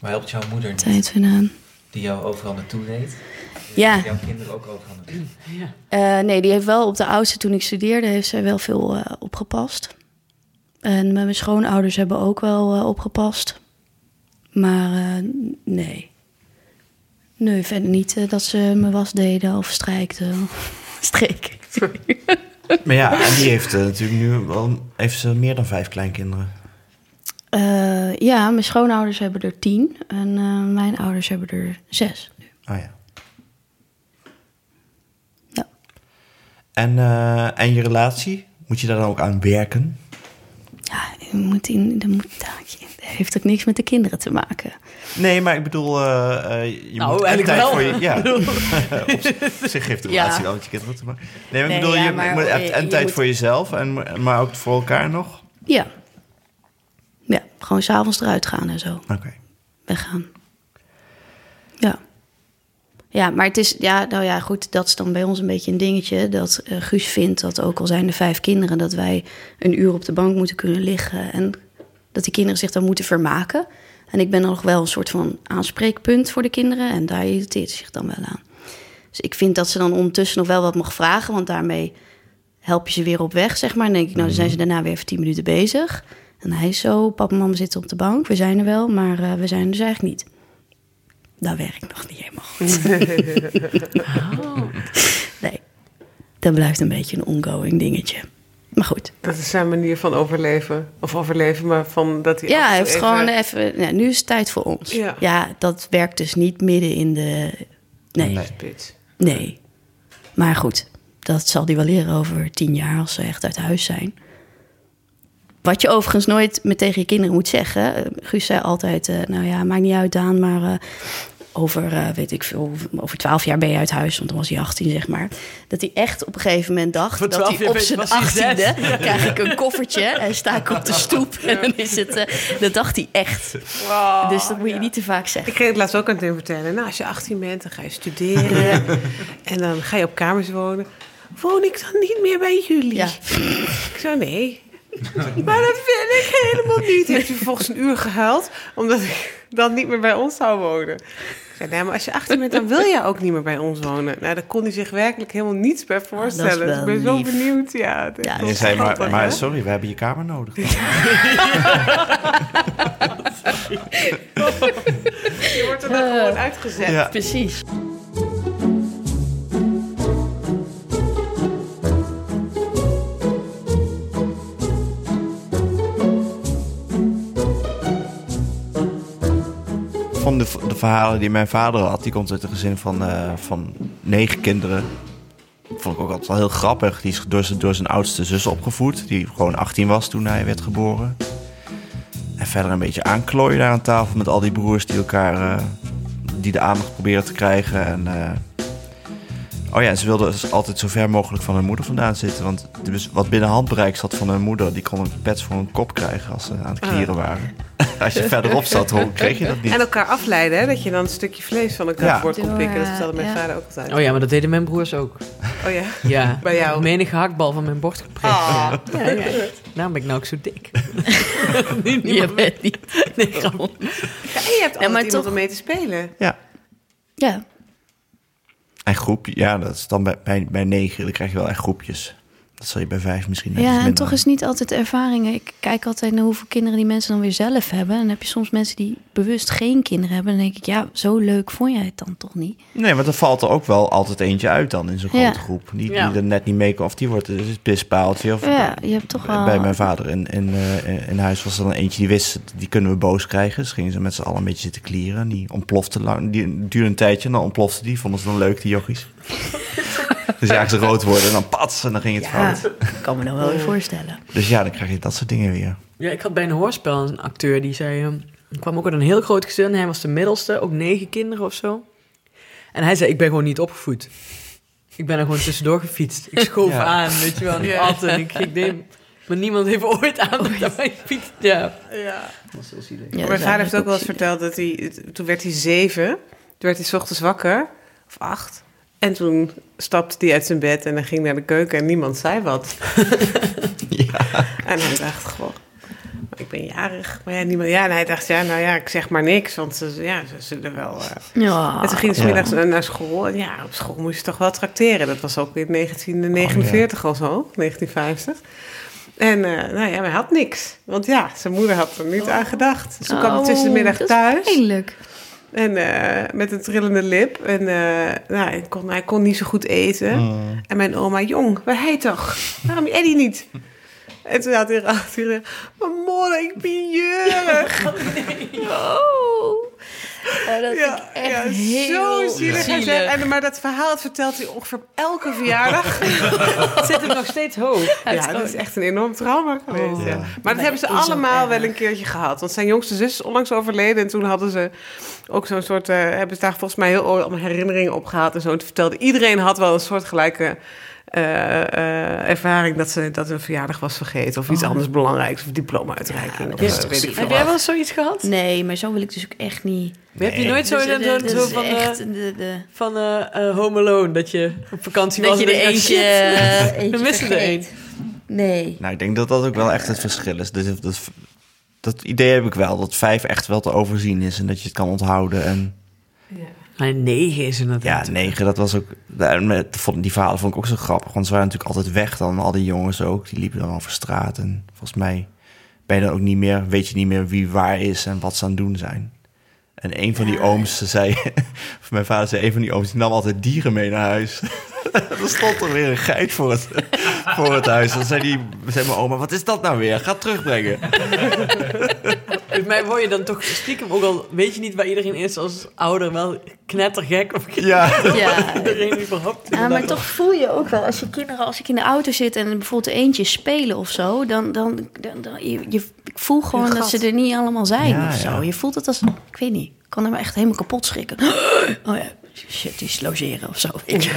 Maar helpt jouw moeder niet, Tijd vandaan. die jou overal naartoe reed? Ja. jouw kinderen ook over gaan doen. Eh, nee, die heeft wel op de oudste toen ik studeerde, heeft zij wel veel eh, opgepast. En mijn schoonouders hebben ook wel eh, opgepast. Maar eh, n- nee. Nee, verder niet eh, dat ze mijn was deden of strijkten. Streken. sorry. Maar ja, en die heeft eh, natuurlijk nu wel heeft ze meer dan vijf kleinkinderen. Eh, ja, mijn schoonouders hebben er tien en eh, mijn ouders hebben er zes. Ah ja. Ja. En, eh, en je relatie? Moet je daar dan ook aan werken? Ja, je moet in, dat moet, dat heeft ook niks met de kinderen te maken. Nee, maar ik bedoel, eh, eh, je Nou, moet echt tijd eigenlijk wel. voor je. Ja. op, zich- op zich geeft de Ja. relatie wel wat je kinderen te maken. Nee, maar ik Nee, bedoel, ja, je maar moet echt je- en je tijd moet- voor jezelf, en, maar ook voor elkaar nog. Ja. Ja, gewoon s'avonds eruit gaan en zo. Oké. weggaan. Ja. Ja, maar het is, ja, nou ja, goed, dat is dan bij ons een beetje een dingetje. Dat eh, Guus vindt dat ook al zijn er vijf kinderen, dat wij een uur op de bank moeten kunnen liggen. En dat die kinderen zich dan moeten vermaken. En ik ben dan nog wel een soort van aanspreekpunt voor de kinderen. En daar irriteert ze zich dan wel aan. Dus ik vind dat ze dan ondertussen nog wel wat mag vragen. Want daarmee help je ze weer op weg, zeg maar. En dan denk ik, nou, dan zijn ze daarna weer even tien minuten bezig. En hij is zo, papa en mama zitten op de bank. We zijn er wel, maar eh, we zijn er dus eigenlijk niet. Dat werkt nog niet helemaal goed. Nee, dat blijft een beetje een ongoing dingetje. Maar goed. Dat is zijn manier van overleven. Of overleven, maar van dat hij... Ja, af en hij toe heeft even- gewoon even... Ja, nu is het tijd voor ons. Ja. dat werkt dus niet midden in de... Nee, nee. Spits. Maar goed, dat zal hij wel leren over tien jaar als ze echt uit huis zijn. Wat je overigens nooit met tegen je kinderen moet zeggen. Eh, Guus zei altijd, eh, nou ja, maakt niet uit Daan, maar... eh, over, eh, weet ik veel, over twaalf jaar ben je uit huis, want dan was hij 18, zeg maar. Dat hij echt op een gegeven moment dacht Voor dat 12 hij jaar op ben- zijn was hij 18e zes. krijg ik een koffertje en sta ik op de stoep. En dan is het, eh, dat dacht hij echt. Oh, dus dat moet je niet te vaak Ik zeggen. kreeg het laatst ook aan Tim vertellen. Nou, als je 18 bent, dan ga je studeren. en dan ga je op kamers wonen. Woon ik dan niet meer bij jullie? Ja. Ik zo, nee. maar dat wil ik helemaal niet. Heeft u volgens een uur gehuild, omdat ik dan niet meer bij ons zou wonen. Ik zei, nee, maar als je 18 bent, dan wil je ook niet meer bij ons wonen. Nou, daar kon hij zich werkelijk helemaal niets bij voorstellen. Ah, wel Dus ik ben zo lief. benieuwd, ja. dat Ja, is En je wel zei, maar, schattig, maar hè? sorry, we hebben je kamer nodig. Je wordt er dan gewoon uitgezet. Ja. Precies. Van de, de verhalen die mijn vader had, die komt uit een gezin van, eh, van negen kinderen. Vond ik ook altijd wel heel grappig. Die is door zijn, door zijn oudste zus opgevoed, die gewoon 18 was toen hij werd geboren. En verder een beetje aanklooien daar aan tafel met al die broers die elkaar eh, die de aandacht proberen te krijgen. En, eh, oh ja, en ze wilden dus altijd zo ver mogelijk van hun moeder vandaan zitten. Want dus wat binnen handbereik zat van hun moeder, die kon een pets voor hun kop krijgen als ze aan het Ah. klieren waren. Als je verderop zat, hoor, kreeg je dat niet. En elkaar afleiden, hè? dat je dan een stukje vlees van elkaar Ja. voor kon Door, eh, pikken. Dat vertelde mijn ja. vader ook altijd. Oh ja, maar dat deden mijn broers ook. Oh ja. Ja. Bij jou? Menige hakbal van mijn bord geprikt. Ah. Ja. Ja, ja. Daarom ben ik nou ook zo dik. nu niet Je meer bent niet. nee, grap. Ja, en je hebt altijd maar iemand toch- om mee te spelen. Ja. Ja, En groep, ja, dat is dan bij, bij, bij negen, dan krijg je wel echt groepjes. Dat zal je bij vijf misschien net iets ja en minder toch is niet altijd ervaringen. Ik kijk altijd naar hoeveel kinderen die mensen dan weer zelf hebben. En dan heb je soms mensen die bewust geen kinderen hebben. Dan denk ik, ja, zo leuk vond jij het dan toch niet? Nee, want er valt er ook wel altijd eentje uit dan in zo'n Ja. grote groep. Die, Ja. die er net niet mee kan, of die wordt dus het pispaaltje. Of Ja, Oh. je hebt toch wel... Bij mijn vader in, in, eh, in huis was er dan eentje die wist, die kunnen we boos krijgen. Dus gingen ze met z'n allen een beetje zitten klieren. Die ontplofte lang, die duurde een tijdje en dan ontplofte die. Vonden ze dan leuk, die jochies. dus ja, ze rood worden en dan pats en dan ging het Ja, fout. kan me nou wel weer voorstellen. Dus ja, dan krijg je dat soort dingen weer. Ja, ik had bij een hoorspel een acteur die zei... ehm, er kwam ook uit een heel groot gezin. Hij was de middelste, ook negen kinderen of zo. En hij zei, ik ben gewoon niet opgevoed. Ik ben er gewoon tussendoor gefietst. Ik schoof Ja. aan, weet je wel. en Ik at en ik, ik deed... Maar niemand heeft ooit aan dat hij fietst. Ja. Ja. Ja, dat Mijn is vader heeft eigenlijk ook wel zielig. eens verteld dat hij... Toen werd hij zeven. Toen werd hij 's ochtends wakker. Of acht. En toen stapte hij uit zijn bed en hij ging naar de keuken en niemand zei wat. Ja. En hij dacht, goh... ik ben jarig. Maar ja, niemand, ja, en hij dacht, ja, nou ja, ik zeg maar niks, want ze, ja, ze zullen wel... eh. Ja. En toen ging ze Ja. middags naar school. En ja, op school moest je toch wel tracteren. Dat was ook in 1949 of zo, 1950. En eh, nou ja, hij had niks. Want ja, zijn moeder had er niet aan gedacht. Dus toen kwam hij tussen de middag thuis. Eindelijk. En eh, met een trillende lip. En eh, nou, hij, kon, hij kon niet zo goed eten. En mijn oma, jong, waar hij toch? Waarom Eddie niet? En toen had hij erachter gezegd, Mamor, ik ben jurig. Oh. Ja, dat Ja, ik echt ja, heel... zo zielig. Hij zei- En, maar dat verhaal dat vertelt hij ongeveer op elke verjaardag. Zit hem nog steeds hoog. ja, dat is echt een enorm trauma geweest. Oh. ja. Ja. Maar dat Maar hebben ze dat is ook allemaal erg. wel een keertje gehad. Want zijn jongste zus is onlangs overleden. En toen hadden ze ook zo'n soort... eh, hebben ze daar volgens mij heel ooit allemaal herinneringen op gehad. En zo En toen vertelde. Iedereen had wel een soortgelijke eh, eh, ervaring... Dat, ze, dat hun verjaardag was vergeten. Of iets anders belangrijks. Of diploma-uitreiking. of, eh, weet ik veel Heb jij wat. wel eens zoiets gehad? Nee, maar zo wil ik dus ook echt niet. Heb je nooit zo, Dus, eh, zo- dat zo is van, eh, echt de, de, van eh, eh, Home Alone, dat je op vakantie dat was je en er dacht, eentje, shit. eh, eentje We missen er vergeet. Nee. Nou, ik denk dat dat ook wel echt het verschil is. Dus Dat, dat, dat idee heb ik wel, dat vijf echt wel te overzien is en dat je het kan onthouden. En Maar negen is ja, inderdaad. negen, dat was ook... daar- met- vond- Die verhalen vond ik ook zo grappig, want ze waren natuurlijk altijd weg dan, al die jongens ook. Die liepen dan over straat en volgens mij ben je dan ook niet meer, weet je niet meer wie waar is en wat ze aan het doen zijn. En een van die ooms ze zei, of mijn vader zei, een van die ooms die nam altijd dieren mee naar huis. er stond er weer een geit voor het, voor het huis. Dan zei, die, zei mijn oma, wat is dat nou weer? Ga het terugbrengen. Volgens mij word je dan toch stiekem, ook al weet je niet waar iedereen is als ouder, wel knettergek of Ja. Ja. iedereen überhaupt. Ja, Ah, maar toch voel je ook wel, als je kinderen, als ik in de auto zit en bijvoorbeeld er eentje spelen of zo, dan, dan, dan, dan- je, je- ik voel gewoon dat ze er niet allemaal zijn Ja, of zo. ja. Je voelt het als, ik weet niet, ik kan er maar echt helemaal kapot schrikken. Oh ja, shit, die is logeren of zo, weet je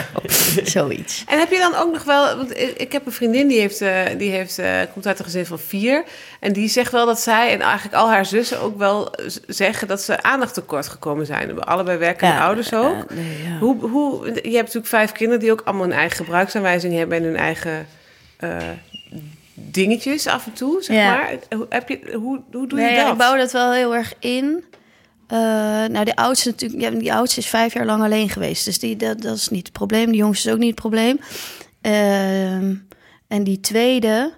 wel. Zoiets. En heb je dan ook nog wel, want ik ik heb een vriendin die, heeft, eh, die heeft, eh, komt uit een gezin van vier. En die zegt wel dat zij en eigenlijk al haar zussen ook wel eh, z- zeggen dat ze aandacht tekort gekomen zijn. We Allebei werkende Ja, ouders ook. eh, nee, ja. hoe, hoe, je hebt natuurlijk vijf kinderen die ook allemaal hun eigen gebruiksaanwijzing hebben en hun eigen eh, dingetjes af en toe, zeg Ja. maar. Hoe, heb je, hoe, hoe doe Nee, je ja, dat? Ik bouw dat wel heel erg in. Eh, nou, de oudste, natuurlijk, ja, die oudste is vijf jaar lang alleen geweest. Dus die, dat, dat is niet het probleem. De jongste is ook niet het probleem. Ehm, en die tweede.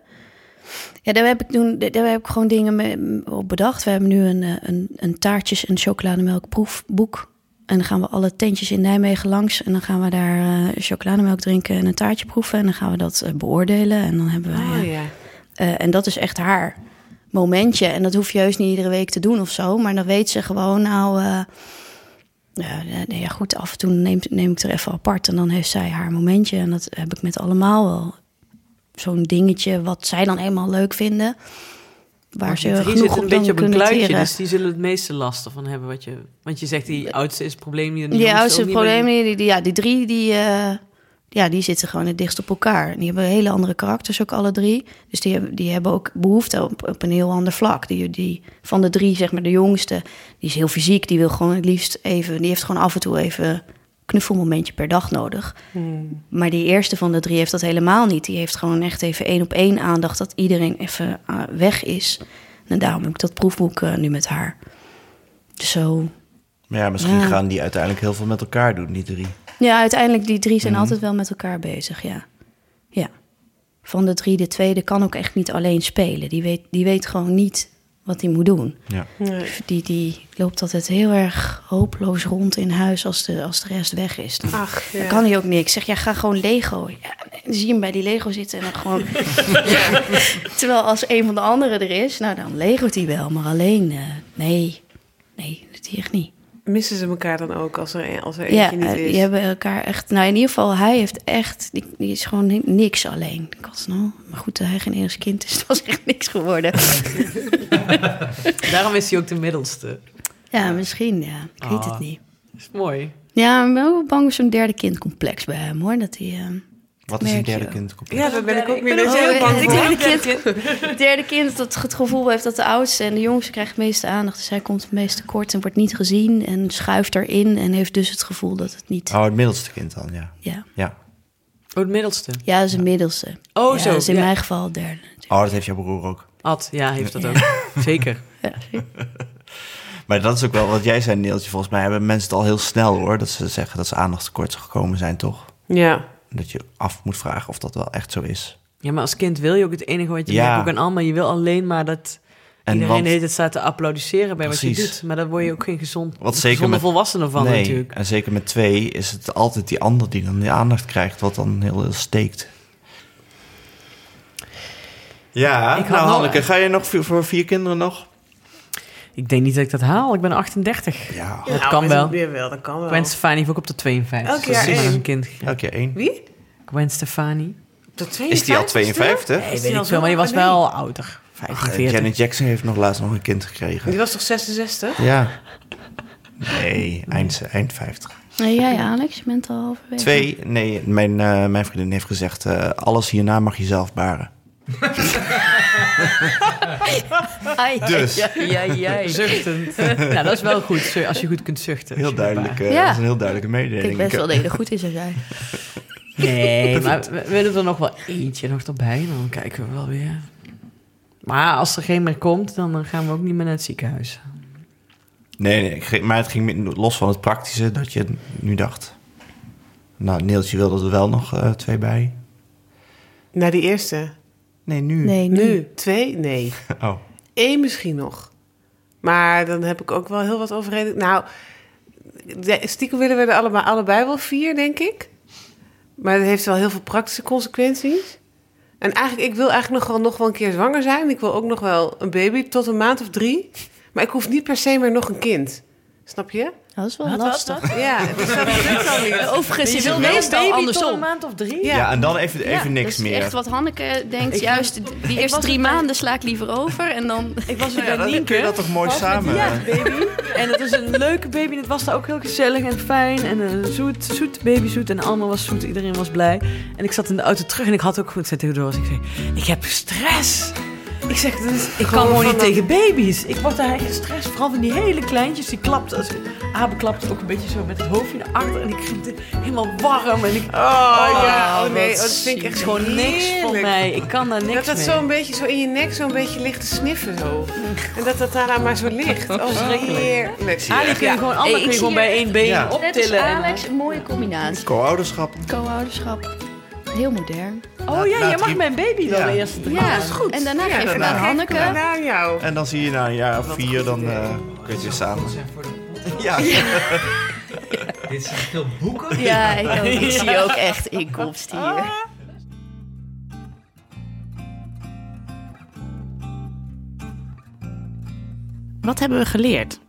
Ja, daar heb ik toen daar heb ik gewoon dingen mee op bedacht. We hebben nu een, eh, een, een taartjes- en chocolademelkproefboek. En dan gaan we alle tentjes in Nijmegen langs. En dan gaan we daar eh, chocolademelk drinken en een taartje proeven. En dan gaan we dat eh, beoordelen. En dan hebben we Oh, ja. eh, en dat is echt haar momentje. En dat hoef je heus niet iedere week te doen of zo. Maar dan weet ze gewoon, nou... eh, ja, nee, ja, goed, af en toe neem, neem ik er even apart. En dan heeft zij haar momentje. En dat heb ik met allemaal wel. Zo'n dingetje wat zij dan eenmaal leuk vinden. Waar ze Die genoeg zit op een beetje dan op een kunnen kluitje, teren. dus die zullen het meeste lasten van hebben. Wat je, want je zegt, die oudste is het probleem hier. en die Die jongste oudste ook niet, maar die- problemen, die, die- ja, die drie, die, eh, ja, die zitten gewoon het dichtst op elkaar. Die hebben hele andere karakters ook alle drie. Dus die, hebben- die hebben ook behoefte op, op een heel ander vlak. Die, die, van de drie, zeg maar, de jongste, die is heel fysiek. Die wil gewoon het liefst even, die heeft gewoon af en toe even een knuffelmomentje per dag nodig. Maar die eerste van de drie heeft dat helemaal niet. Die heeft gewoon echt even één op één aandacht dat iedereen even ah, weg is. En daarom heb ik dat proefboek eh, nu met haar. Dus zo Maar ja, misschien Ja. gaan die uiteindelijk heel veel met elkaar doen, die drie. Ja, uiteindelijk die drie zijn altijd wel met elkaar bezig, ja. Ja. Van de drie, de tweede kan ook echt niet alleen spelen. Die weet, die weet gewoon niet wat hij moet doen. Ja. Die, die loopt altijd heel erg hopeloos rond in huis als de, als de rest weg is. Dan, Ach, dan Ah, ja. kan hij ook niks. Ik Zeg, ja, ga gewoon Lego. Ja, dan zie je hem bij die Lego zitten en dan gewoon... Terwijl als een van de anderen er is, nou dan Lego't hij wel. Maar alleen, eh, nee, nee, dat doet hij echt niet. Missen ze elkaar dan ook als er, een- als er Ja, eentje niet eh, is? die hebben elkaar echt... Nou, in ieder geval, hij heeft echt... Die, die is gewoon ni- niks alleen. Ik had nou... Maar goed, dat hij geen eerste kind is, dat was echt niks geworden. Daarom is hij ook de middelste. ja, misschien, ja. Ik weet het Ah. niet. Dat is mooi. Oh, Ja, ik ben ook wel bang voor zo'n derde kindcomplex bij hem, hoor. Dat hij... ehm, Wat is een Merk je derde ook. kind? Ja, daar ben ik ook weer ook heel heel bang erg- Oh, voor. eh, derde kind, het derde kind dat het gevoel heeft dat de oudste en de jongste krijgt het meeste aandacht. Dus hij komt het meeste kort en wordt niet gezien en schuift erin en heeft dus het gevoel dat het niet... Oh, het middelste kind dan, ja. Ja, ja. Oh, het middelste. ja dat is een middelste. Oh, ja, zo, Dat is in ja. mijn geval het derde. Oh, dat heeft jouw broer ook. Ad, ja, heeft dat ook. Zeker. Ja, zie je? Maar dat is ook wel wat jij zei, Neeltje. Volgens mij hebben mensen het al heel snel hoor. Dat ze zeggen dat ze aandachtstekort gekomen zijn, toch? Ja. En Dat je af moet vragen of dat wel echt zo is. Ja, maar als kind wil je ook het enige wat je Ja. merkt ook aan allemaal. Je wil alleen maar dat En iedereen want- de hele tijd staat te applaudisseren bij wat je Precies. doet. Maar daar word je ook geen gezond, Wat zeker gezonde met- volwassene van nee, natuurlijk. en zeker met twee is het altijd die ander die dan de aandacht krijgt, wat dan heel, heel steekt. Ja, Ik had nou wel- Hanneke, ga je nog voor- voor vier kinderen nog? Ik denk niet dat ik dat haal. Ik ben 38. Ja, Dat kan wel. Weer wel, dat kan wel. Gwen Stefani heeft ook op de 52. Elk Dat jaar is maar één. een kind. elke keer één. Wie? Gwen Stefani. Tot Is die al 52? 52? Nee, weet die al ik veel, zo maar die was oud? Nee. wel ouder. 45. Eh, Janet Jackson heeft nog laatst nog een kind gekregen. Die was toch 66? Ja. Nee, eind, eind 50. Nee, Eh, jij Alex, je bent al halverwege. Twee, nee, mijn, eh, mijn vriendin heeft gezegd, eh, alles hierna mag je zelf baren. Ah, Dus, Ja, jij. Zuchtend. nou, dat is wel goed, zo- als je goed kunt zuchten. heel duidelijk, eh, Ja. dat is een heel duidelijke Ik mededeling. denk best wel dat je er goed in zou zijn. Nee, maar we, we doen er nog wel eentje nog erbij. en Dan kijken we wel weer. Maar als er geen meer komt, dan eh, gaan we ook niet meer naar het ziekenhuis. Nee, nee ik ging- maar het ging meer los van het praktische dat je nu dacht. Nou, Neeltje wilde er wel nog eh, twee bij. Na Nou, die eerste. Nee, nu. Nee, nu. Nu. Twee? Nee. Oh, Eén misschien nog. Maar dan heb ik ook wel heel wat overredend. Nou, de- stiekem willen we er allemaal, allebei wel vier, denk ik. Maar dat heeft wel heel veel praktische consequenties. En eigenlijk, ik wil eigenlijk nog wel, nog wel een keer zwanger zijn. Ik wil ook nog wel een baby tot een maand of drie. Maar ik hoef niet per se meer nog een kind. Snap je? Dat is wel lastig. Ja, dus dat is al niet. Overigens is het meestal andersom. maand of drie? ja. Ja. en dan even, even Ja, niks dat is meer. Nou echt wat Hanneke denkt. Juist die- die eerste was drie het bij- maanden sla ik liever over. En dan... Ik was er Ja, bij dan kun je Nienke. dat toch mooi samen. eh, Ja, baby. En het was een leuke baby. En het was daar ook heel gezellig en fijn. En eh, zoet, zoet, baby zoet. En allemaal was zoet. Iedereen was blij. En ik zat in de auto terug en ik had ook goed zet door. ik zei, ik heb stress. Ik zeg, dit is- ik kan Gewoon gewoon niet van dat- tegen baby's. Ik word daar echt gestrest. Vooral van die hele kleintjes. Die klapt, als, Abe klapt ook een beetje zo met het hoofdje naar achter. En ik ging de- helemaal warm. En ik, Oh, ja, oh nee, wat oh, dat vind ik echt zielig. gewoon niks voor heerlijk. mij. Ik kan daar niks Dat dat mee. zo'n beetje zo in je nek zo'n beetje ligt te sniffen zo. En dat dat daarna maar zo ligt. Oh, heerlijk. Ali kun je gewoon, allemaal Hey, kun ik je gewoon zie bij hier- één been Ja. Net als optillen. en- Alex, een mooie combinatie. Co-ouderschap. Co-ouderschap. Heel modern. Oh ja, laat jij mag Riep- mijn baby dan Ja. de eerste drie Ja, maanden. goed. En daarna Ja, geven we daarna aan Hanneke. Naar jou. En dan zie je na een jaar of vier, dan eh kun je weer samen. Ja, Dit zijn veel boeken. Ja, ik, ook. ik zie ook echt inkomsten hier. Wat hebben we geleerd?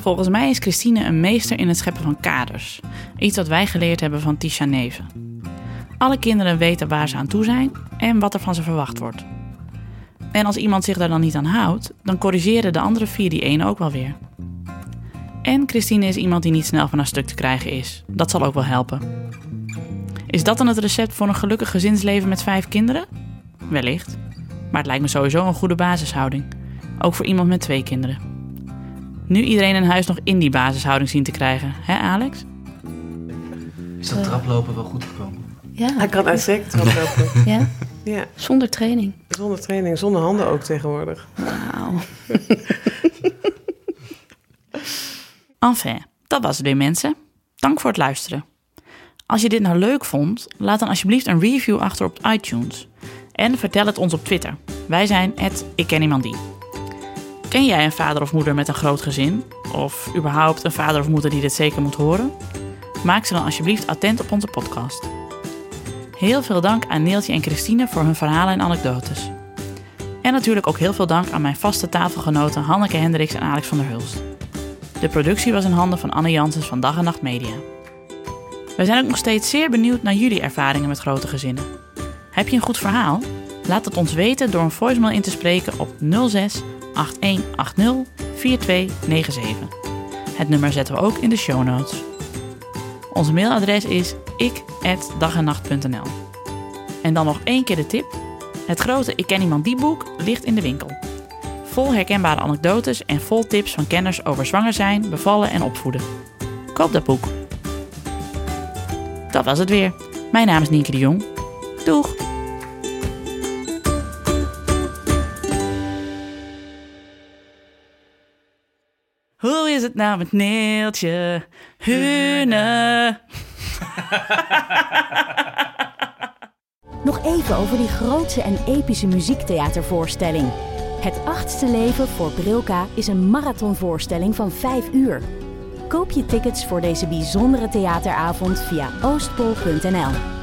Volgens mij is Christine een meester in het scheppen van kaders. Iets dat wij geleerd hebben van Tisha Neven. Alle kinderen weten waar ze aan toe zijn en wat er van ze verwacht wordt. En als iemand zich daar dan niet aan houdt, dan corrigeren de andere vier die ene ook wel weer. En Christine is iemand die niet snel van haar stuk te krijgen is. Dat zal ook wel helpen. Is dat dan het recept voor een gelukkig gezinsleven met vijf kinderen? Wellicht. Maar het lijkt me sowieso een goede basishouding. Ook voor iemand met twee kinderen. Nu iedereen in huis nog in die basishouding zien te krijgen, hè Alex? Is dat traplopen wel goed gekomen? Ja, Hij kan uitstekend wel lopen. Ah. ja. Ja, zonder training. zonder training, zonder handen ook tegenwoordig. Wauw. Enfin, dat was het weer mensen. Dank voor het luisteren. Als je dit nou leuk vond, laat dan alsjeblieft een review achter op iTunes. En vertel het ons op Twitter. Wij zijn het Ik Ken Iemand Die. Ken jij een vader of moeder met een groot gezin? Of überhaupt een vader of moeder die dit zeker moet horen? Maak ze dan alsjeblieft attent op onze podcast. Heel veel dank aan Neeltje en Christine voor hun verhalen en anekdotes. En natuurlijk ook heel veel dank aan mijn vaste tafelgenoten Hanneke Hendricks en Alex van der Hulst. De productie was in handen van Anne Janssens van Dag en Nacht Media. We zijn ook nog steeds zeer benieuwd naar jullie ervaringen met grote gezinnen. Heb je een goed verhaal? Laat het ons weten door een voicemail in te spreken op 06 8180 4297. Het nummer zetten we ook in de show notes. Ons mailadres is ik@dagennacht.nl. En dan nog één keer de tip. Het grote Ik ken iemand die boek ligt in de winkel vol herkenbare anekdotes en vol tips van kenners over zwanger zijn, bevallen en opvoeden. Koop dat boek. Dat was het weer. Mijn naam is Nienke de Jong. Doeg! Hoe is het nou met Neeltje? Hunne. Nog even over die grootse en epische muziektheatervoorstelling. Het achtste leven voor Brilka is een marathonvoorstelling van 5 uur. Koop je tickets voor deze bijzondere theateravond via oostpol.nl.